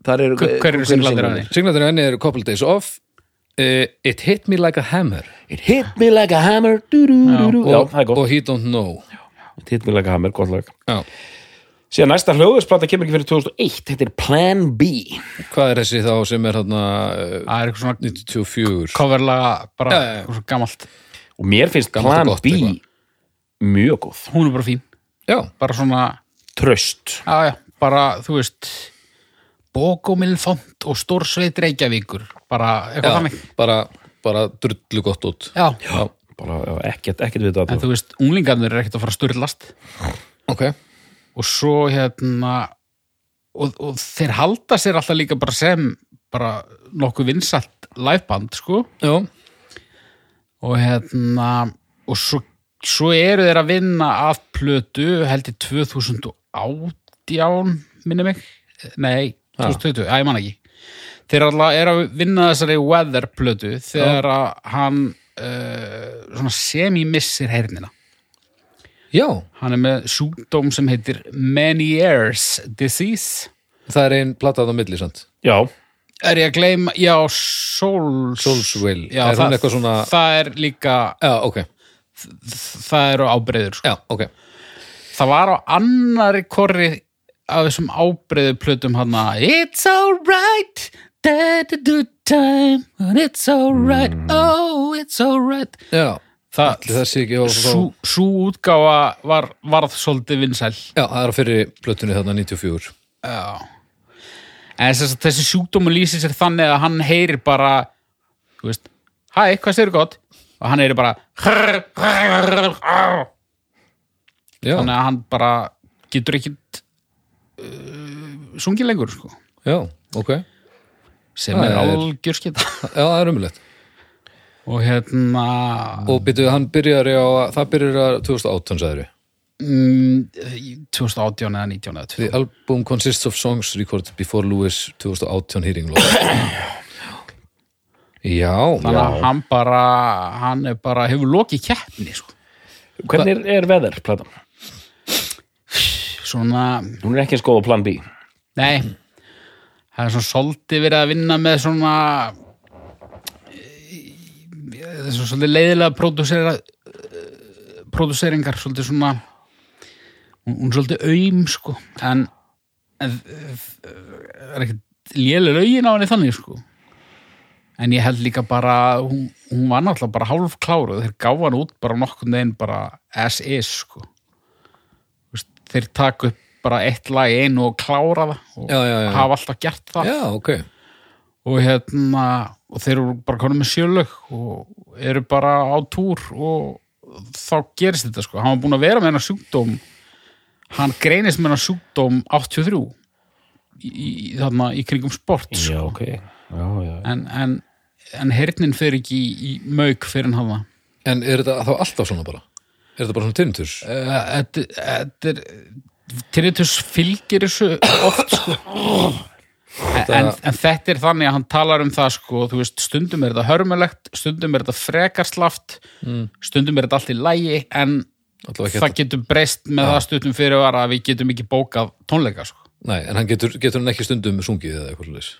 þar eru
Hver- hver eru singlarnir af því?
Singlandir enni eru Couple Days Off uh, It Hit Me Like a Hammer
It hit me like a hammer dú, dú, dú, dú. Já,
og,
það er
og
gott
He Don't Know
It hit me like a hammer, gott lag
já.
síðan næsta hljóðusplata kemur ekki fyrir 2001 þetta er Plan B
Hvað er þessi þá sem er hérna uh,
það er eitthvað svona
94
coverlaga, bara
Já, já, já.
eitthvað svo gamalt
og mér finnst
Gammalt og
Plan
gott
B
eitthvað.
mjög góð
hún er bara fín,
Já,
bara svona
tröst
Já, já, bara, þú veist Bókomilfont og Stórsveit Reykjavíkur, bara eitthvað
já
þannig
bara, bara drullu gott út
Já,
Já,
bara já, ekkert, ekkert við
en
þetta
þú veist, unglingarnir er ekkert að fara að styrlast
ok
og svo hérna og, og þeir halda sér alltaf líka bara sem bara nokkuð vinsalt liveband, sko
Já,
og hérna og svo, svo eru þeir að vinna af plötu, held ég 2018 minni mig, nei 2020, að ég man ekki þeir alltaf eru að vinna þessari weather plötu þegar að hann uh, svona semi-missir heyrnina
já
hann er með sjúkdóm sem heitir Meniere's disease
það er ein platað á milli sant
já,
er ég að gleyma, já, Souls
Soulswill,
já,
er hún eitthvað svona
það er líka,
Já, ok,
það eru ábreyður sko.
já, ok
það var á annari korri af þessum ábreyðu plötum hann It's alright That a good time And it's alright Oh, it's alright
Já,
Það,
það sé ekki á,
sú, sú útgáfa var, varð svolítið vinsæl
Já, það er á fyrir plötunni þarna 94
Já. En þessi, þessi sjúkdómu lýsir sér þannig að hann heyrir bara þú veist, hæ, hvað segir gott? Og hann heyrir bara Þannig
Já,
að hann bara getur ekkit uh, sungið lengur, sko
já, ok Já,
sem
Það
er
er-
algjör skita
það er umlegt
og hérna
Og byrjuðu, hann byrjar á, það byrjar á 2018, sagður við.
mm, 2018 eða 19 eða 20
The album consists of songs recorded before Lewis 2018 hearing loss. já,
þannig að hann bara hann er bara, hefur lokið keppni sko.
hvernig er, er veður platan?
svona,
hún er ekki eins góð á Plan B
nei það er svona svolítið verið að vinna með svona e, eh, það er svona svolítið leiðilega pródúsera eh, pródúseringar svolítið svona hún, hún er svolítið aum sko en, en eh, er ekkert lélega laugin á henni þannig sko en ég held líka bara hún, hún var náttúrulega bara hálf kláru þeir gáfa hann út bara nokkurn veginn bara as is sko Vist, þeir taka upp bara eitt lag í einu og klára það og
Já, já, já.
hafa alltaf gert það
já, ok.
og hérna og þeir eru bara konum með sjölög og eru bara á túr og þá gerist þetta sko, hann var búin að vera með hennar sjúkdóm hann greinist með hennar sjúkdóm 83 í, í, þarna, í kringum sport sko.
já, ok já, já.
en, en, en hernin fyrir ekki í, í mauk fyrir hann hafa
En er þetta þá alltaf svona bara? Er þetta bara svona tinnitus?
Eh, Þetta þetta er Tinnitus fylgir þessu oft sko. en, en þetta er þannig að hann talar um það sko, þú veist, stundum er þetta hörmulegt stundum er þetta frekarslaft
Mm.
stundum er þetta allt í lægi en
Allavega ekki
það getur breyst með það stundum fyrirvara að við getum ekki bókað tónleika sko.
Nei, en hann getur, getur hann ekki stundum sungið eða eitthvað slags.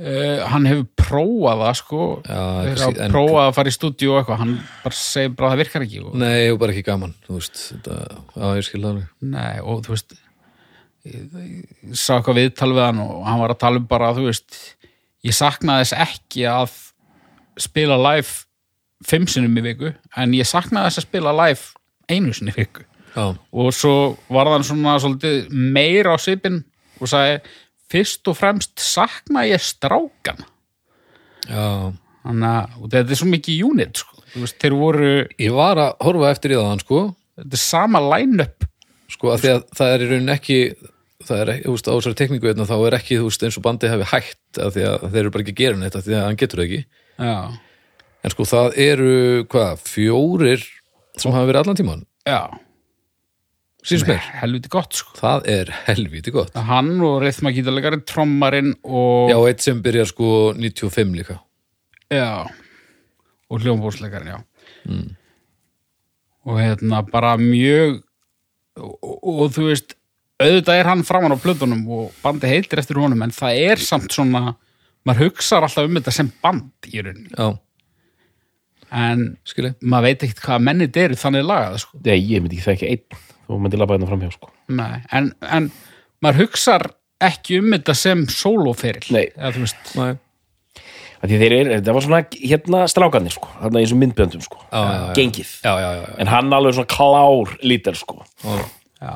uh, hann hefur prófað það sko,
Eh, Já,
Hefur
kannski- en-
prófað að fara í stúdíu og eitthvað, hann bara segir bara að það virkar ekki og,
Nei, og bara ekki gaman, þú veist, þetta, já, ég skil það alveg.
Nei, og þú veist ég, ég sá eitthvað viðtal við hann og hann var að tala um bara, þú veist ég saknaði þess ekki að spila live fimm sinnum í viku, en ég saknaði þess að spila live einu sinni í viku
Já,
og svo var hann svona svolítið meira á svipinn og sagði, fyrst og fremst sakna ég strákan
já.
þannig að og þetta er svo mikið unit, sko þú veist, þeir voru,
Ég var að horfa eftir í það hann, sko,
þetta er sama line-up
sko, af því að það er í raunin ekki, það er, ekki- þú veist, á þessari tekningu hérna, þá er ekki, þú veist, eins og bandið hafi hægt, af því að þeir eru bara ekki að gera neitt, af því að hann getur það ekki.
Já,
En sko, það eru, hvað, fjórir sem hafa verið allan tíman,
já,
síns mér.
helviti gott, sko
Það er helvíti gott.
hann og rithmagítalegari trommarinn og,
Já, og eitt sem byrjar, sko, 95 líka.
já, og hljómbúrsleikarinn já. og hérna bara mjög og, og, og þú veist auðvitað er hann framan á plötunum og bandi heitir eftir honum en það er samt svona maður hugsar alltaf um þetta sem band í rauninni
Já,
en
skilji.
maður veit ekkert hvað mennið eru þannig lagað sko.
Nei, ég myndi ekki þekki einn þú myndi labba hérna framhjá sko
Nei, en, en maður hugsar ekki um þetta sem sólóferil
Nei.
eða þú veist
Næ,
Af því þeir eru, það var svona hérna strákanir sko, þarna í þessum myndbjöndum sko já, já, já. gengið,
já, já, já, já.
en hann alveg svona klár lítar sko,
já.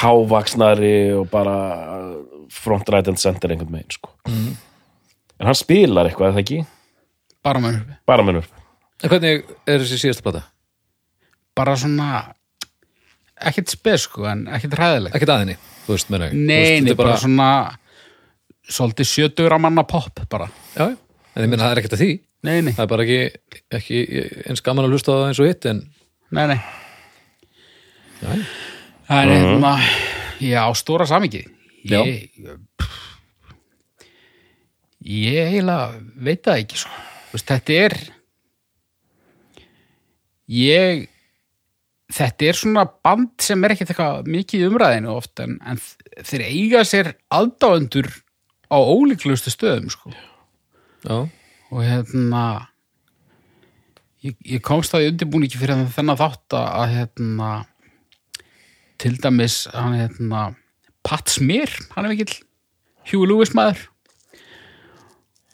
hávaksnari og bara uh, front right and center einhvern megin sko en hann spilar eitthvað, er það ekki?
bara maður uppi
bara mennur,
En hvernig er þessi síðasta plata?
bara svona ekkert spes sko en ekkert hræðileg
Ekkert aðinni, þú veist, menna ég. Þú veist,
nei, nei,
þetta er
bara, svona svolítið sjötugra manna popp bara
Já, já. en ég minna það er ekkert að því
nei, nei,
það er bara ekki, ekki eins gaman að hlusta á það eins og hitt en
nei, nei.
já,
það er hérna já, stóra samikið
Já.
ég pff, ég eiginlega veit það ekki sko Þú Veist, þetta er ég þetta er svona band sem er ekkert eitthvað mikið í umræðinu oft en, en þeir eiga sér aðdáendur á ólíklustu stöðum sko.
já,
og hérna ég, ég komst að ég undirbúin ekki fyrir þennan þátt að- að hérna til dæmis hann hérna Pat Smear, hann er mikill Huey Lewis maður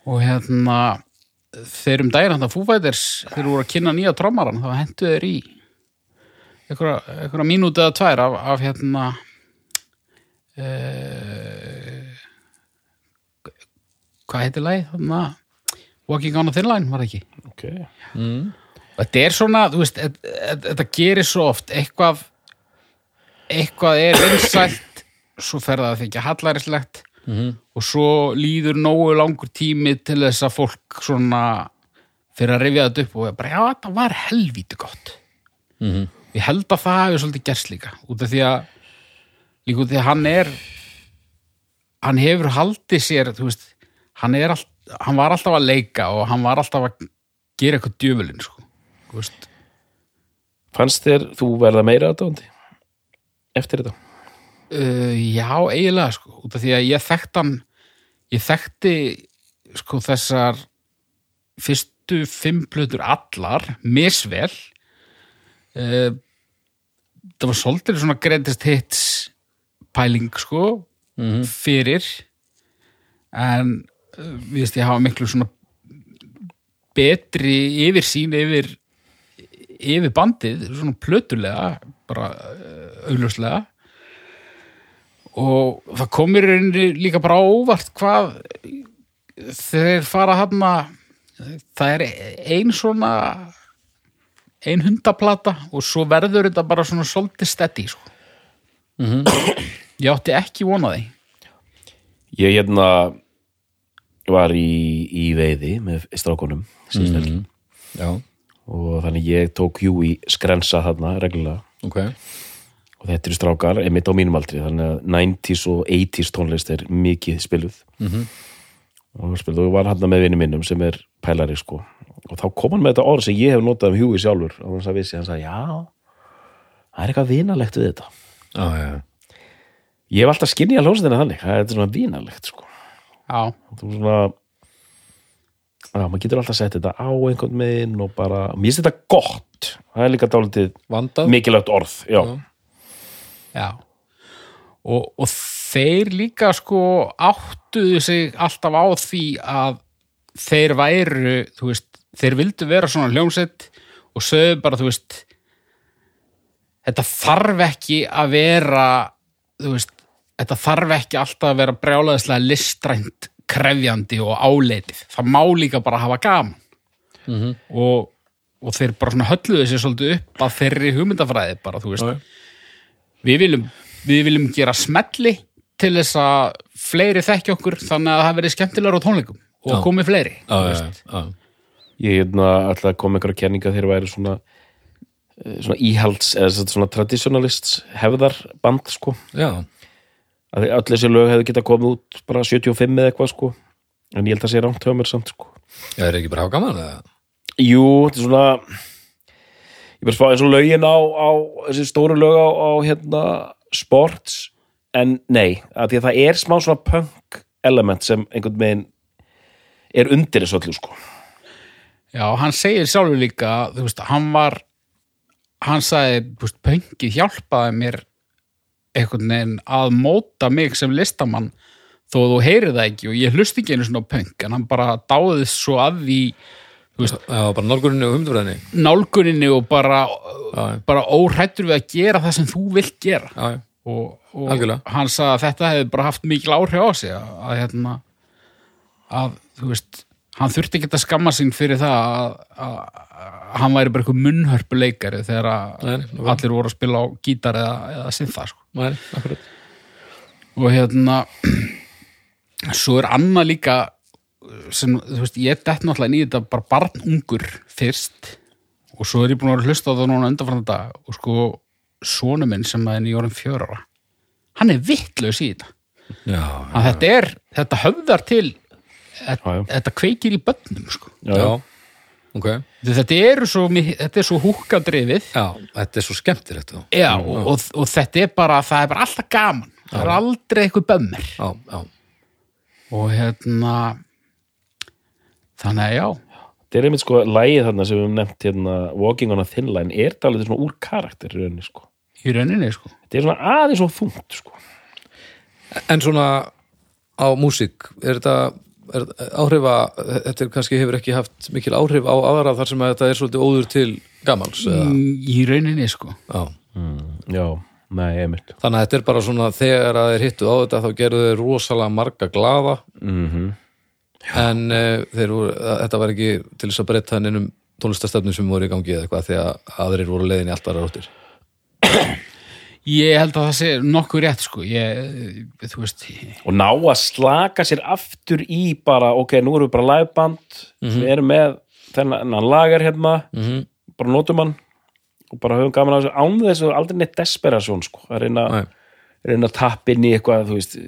og hérna þeir um daginn hann að Foo Fighters þeir voru að kynna nýja trommaran þá hentu þeir í einhverja, einhverja mínúti eða tvær af, af hérna eh, hvað heitir lagið þarna Walking on a Thin Line var það ekki
ok já,
og þetta er svona, þú veist, þetta- þetta þetta gerir svo oft eitthvað eitthvað er vinsælt svo fer það að þykja hallarinslegt -hmm. og svo líður nógu langur tími til þess að fólk svona fyrir að rifja þetta upp og er bara, já, þetta var helvíti gott -hmm. ég held að það hafi svolítið gerst líka út af því að líka út af því að hann er hann hefur haldið sér þú veist, hann, er all, hann var alltaf að leika og hann var alltaf að gera eitthvað djöfulinn sko. Þú veist,
fannst þér þú verða meira aðdóndi eftir þetta?
uh, já, eiginlega sko, út af því að ég þekkt hann ég þekkti sko þessar fyrstu fimm plötur allar misvel uh, það var svolítið svona greatest hits pæling sko fyrir en uh, við veist ég hafa miklu svona betri yfirsýn yfir yfir bandið, svona plötulega bara uh, augljóslega og það komir rauninni líka bara á óvart hvað þeir fara hann að það er ein svona ein hundaplata og svo verður þetta bara svona svolítið steady sko. ég átti ekki vona því
Ég hérna var í, í veiði með strákunum síðust helgi
já,
og þannig ég tók jú í skrensa þarna reglulega
ok
og þetta eru strákar, einmitt á mínum aldri þannig að 90s og 80s tónlist er mikið spiluð og -hmm. spiluð og ég var hann með vinnu mínum sem er pælari sko og þá kom hann með þetta orð sem ég hef notað um hjúi sjálfur og hann sagði vissi, hann sagði já það er eitthvað vinalegt við þetta
já, já, já.
ég hef alltaf skinnið að hljómsveitina þannig það er svona vinalegt sko
já,
þú svona já, maður getur alltaf sett þetta á einhvern megin og bara, mér finnst þetta gott það er líka dálítið
vandað
mikilvægt orð já,
já og, og þeir líka sko áttuðu sig alltaf á því að þeir væru þú veist, þeir vildu vera svona hljómsett og sögðu bara, þú veist þetta þarf ekki að vera þú veist, þetta þarf ekki alltaf að vera brjálaðislega listrænt krefjandi og áleitið það má líka bara hafa gaman
Mhm.
-hmm. og, og þeir bara svona hölluðu sér svolítið upp að þeirri hugmyndafræði bara, þú veist
Já, já.
við viljum, við viljum gera smelli til þess að fleiri þekki okkur þannig að það verði skemmtilegur á tónleikum og
Já.
komi fleiri
Já, já, já,
ég hérna ætla að koma einhverja kenninga þegar væri svona eh, svona íhalds eða sem sagt svona traditionalists hefðar band sko
já,
að því öll þessi lög hefðu getað komið út bara 75 eða eitthvað sko en ég held að sé rámt hjá mér samt sko
já, er ekki bara að hafa gaman eða?
jú, þetta er svona ég bara spá eins og lögin á, á þessi stóru lög á, á hérna sports en nei, að því að það er smá svona punk element sem einhvern veginn er undir þessu öllu sko
Já, hann segir sjálfur líka, þú veist, hann var, hann sagði, þú veist, pöngið hjálpaði mér einhvern veginn að móta mig sem listamann þó að þú heyrir það ekki og ég hlusti ekki einu svona pöng en hann bara dáðið svo að því
já, bara nálgurinn og humdurfræðinni
nálguninni og bara,
já.
bara óhrættur við að gera það sem þú vilt gera
já, já,
og, og
Algjörlega.
hann sagði að þetta hefði bara haft mikil áhrif á sig að, að hérna að þú veist, hann þurfti ekki að skamma sín fyrir það að, að, að hann væri bara eitthvað munnhörpuleikari þegar að
Nei, nei,
allir voru að spila á gítar eða, eða sinþa sko.
næri, akkurat
og hérna svo er annað líka sem, þú veist, ég dett náttúrulega inn í þetta bara barnungur fyrst og svo er ég búin að vera að hlusta á það núna undanfarnan dag og sko, sonu minn sem að er nýjórum fjörara hann er vittlaus í þetta
Já,
að þetta er, þetta höfðar til þetta,
Já, já.
þetta kveikir í bönnum sko.
já, já, ok
þetta eru svo, mi- þetta er svo húkadrifið
Já, þetta er svo skemmtilegt þú.
já, og, og, og þetta er bara það er bara alltaf gaman, það er aldrei eitthvað bömmir
Já, já,
og hérna þannig að já
Þetta er einmitt sko lægið þarna sem við höfum nefnt hérna, Walking on a Thin Line er dálítið svona úr karakter í rauninni sko.
í rauninni sko
Þetta er svona aðeins og þungt sko.
En svona á músík, er þetta er, áhrifa, þetta er kannski hefur ekki haft mikil áhrif á aðra þar sem að þetta er svolítið óður til gamals eða,
Mm, í rauninni sko
já.
Já, nei, einmitt.
Þannig að þetta er bara svona þegar að þeir hittu á þetta þá gerðu þeir rosalega marga glaða -hmm. en uh, þeir voru, að- þetta var ekki til þess að breyta hann innum tónlistastefnum sem voru í gangi eða eitthvað því að aðrir voru leiðin í allt aðra róttir
ég held að það sé nokkuð rétt sko ég, þú veist
Og ná að slaka sér aftur í bara, ok, nú erum við bara live-band, við erum með þennan lagar hérna,
Mhm.
bara notum hann og bara höfum gaman að þessu án þess að aldrei neitt desperasjón sko, að reyna,
Nei.
reyna að tappa inn í eitthvað, þú veist,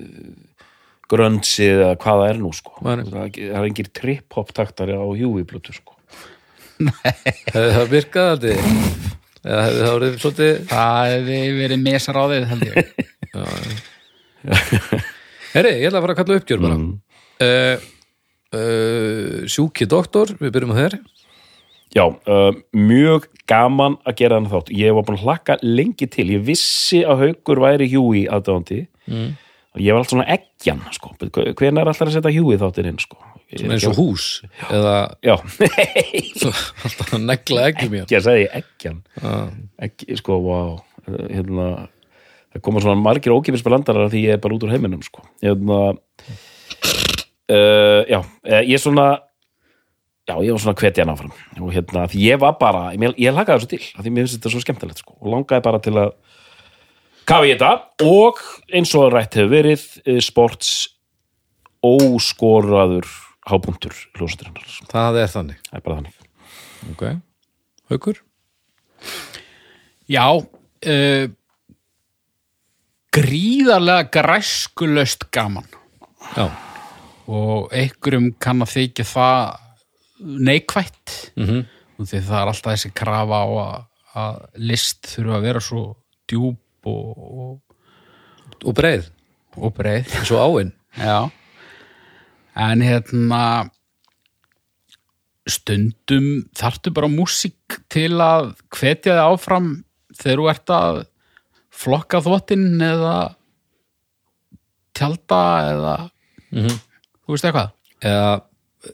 grönsið eða hvað það er nú sko.
Nei.
Það það er engir trip-hop taktari á hjúi-blötu sko.
Hefði það virkað aldrei? Eða hefði það voruð svolítið
það hefði verið mesar á þig held ég
Herri, ég ætla að fara að kalla uppgjör bara mm. Sjúki doktor, við byrjum á þér
Já, uh, mjög gaman að gera þannig þátt. Ég var búin að hlakka lengi til. Ég vissi að haukur væri hjúi aðdáðandi. Mm. Ég var alltaf svona eggjan, sko. Hvernig er alltaf að setja hjúi þáttir inn, sko?
Svona eins og hús Eða
Já, ekki
svo- alltaf að negla ekki mér
að segja eggjan.
Ah.
Egg, sko, wow. Hérna, það koma svona margir ókipisbelandarar því ég er bara út úr heiminum, eh, sko. Hérna, uh, já, eh, ég er svona já, ég var svona að hvetja hann áfram og hérna, því ég var bara, ég, ég lakaði þessu til af því mér finnst þetta svo skemmtilegt sko og langaði bara til að kafa í þetta og eins og rætt hefur verið eh, sports óskoraður hábúntur hljósaturinnar,
það er þannig
það er bara þannig
ok, haukur
Já, uh, gríðarlega græskulöst gaman
já,
og einhverjum kann að þykja það neikvætt -hmm. og því það er alltaf þessi krafa á að, að list þurfa að vera svo djúb og, og,
og breið,
og breið
svo áinn
Já En hérna stundum þarftu bara músík til að hvetja þig áfram þegar þú ert að flokka þvottinn eða tjálpa eða Mhm. þú veist eitthvað
eða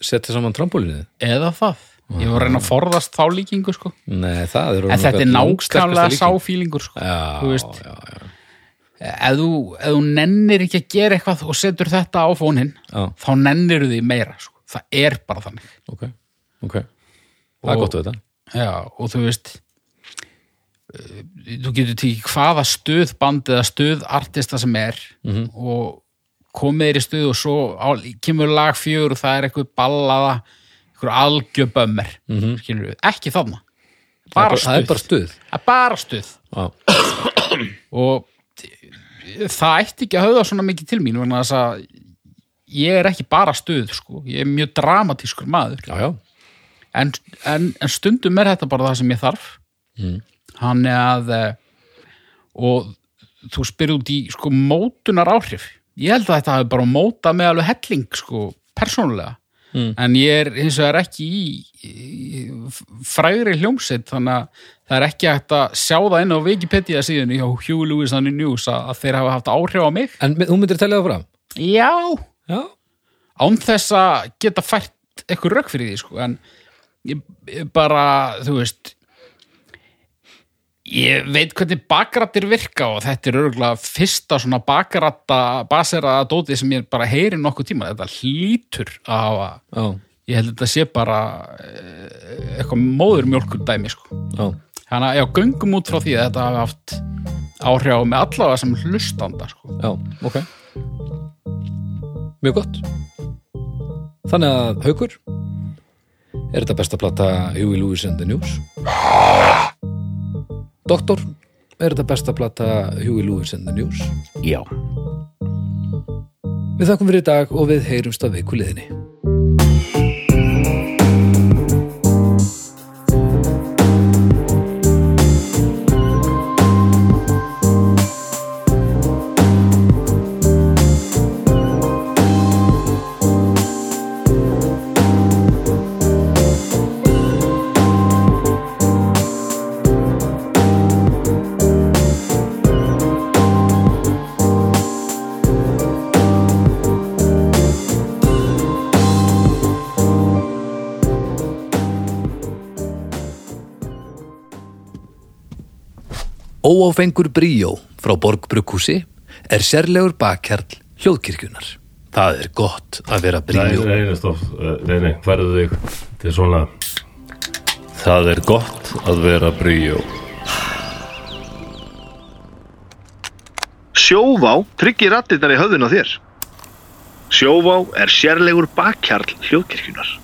setja saman trampolínið
eða það, ég var að reyna að forðast þá líkingu sko,
nei, það er
en þetta er nákvæmlega
já,
sáfílingur sko, þú veist
já, já,
ef þú, ef þú nennir ekki að gera eitthvað og setur þetta á fóninn
já,
þá nennir því meira sko. það er bara þannig
ok, ok það er gott við þetta
Já, og þú veist eh, þú getur tekið hvaða stuðband eða stuðartista sem er
Mhm.
og komið þér í stuð og svo á, kemur lag fjögur og það er eitthvað ballaða eitthvað algjöbömmir mm -hmm. skilur ekki þarna bara
Mhm. það er
stuð,
bara stuð
það er bara stuð
já,
og eh, það ætti ekki að höfða svona mikið til mín vegna þess að ég er ekki bara stuð sko. ég er mjög dramatískur maður
já, já,
en, en, en stundum er þetta bara það sem ég þarf hann er að eh, og þú spyrir út í sko mótunar áhrif ég held að þetta hafi bara mótað með alveg helling sko persónulega en ég er hins vegar ekki í, í frægri hljómsett þannig að það er ekki hægt að sjá það inn á Wikipedia síðan hjá Hugh Lewis and the News að, að þeir hafa haft áhrif á mig
en mi- þú myndir telja það fram
já,
já,
án þess að geta fært eitthvað rauk fyrir því sko. en ég, ég bara þú veist ég veit hvernig bakrættir virka og þetta er örgulega fyrsta svona bakrætta baseraða dóti sem ég bara heyri nokkuð tíma þetta hlýtur að hafa
já,
ég held að þetta sé bara eh, eitthvað móður mjólkur dæmi sko.
já
þannig að já, göngum út frá því að þetta hafi haft áhrif á með allavega sem hlustanda sko.
Já, ok Mjög gott Þannig að haukur Er þetta besta plata Huey Lewis and the News? Doktor Er þetta besta plata Huey Lewis and the News?
já,
Við þakkum fyrir í dag og við heyrumst að veiku liðinni Óáfengur bríó frá Borgbrukkúsi er sérlegur bakkjarl hljóðkirkjunar Það er gott að vera
Nei,
bríó
nei, nei, stopp, eh, nei, nei, færðu þig til svona Það er gott að vera bríó
Sjóvá tryggir rattirnar í höfðun á þér. Sjóvá er sérlegur bakkjarl hljóðkirkjunar.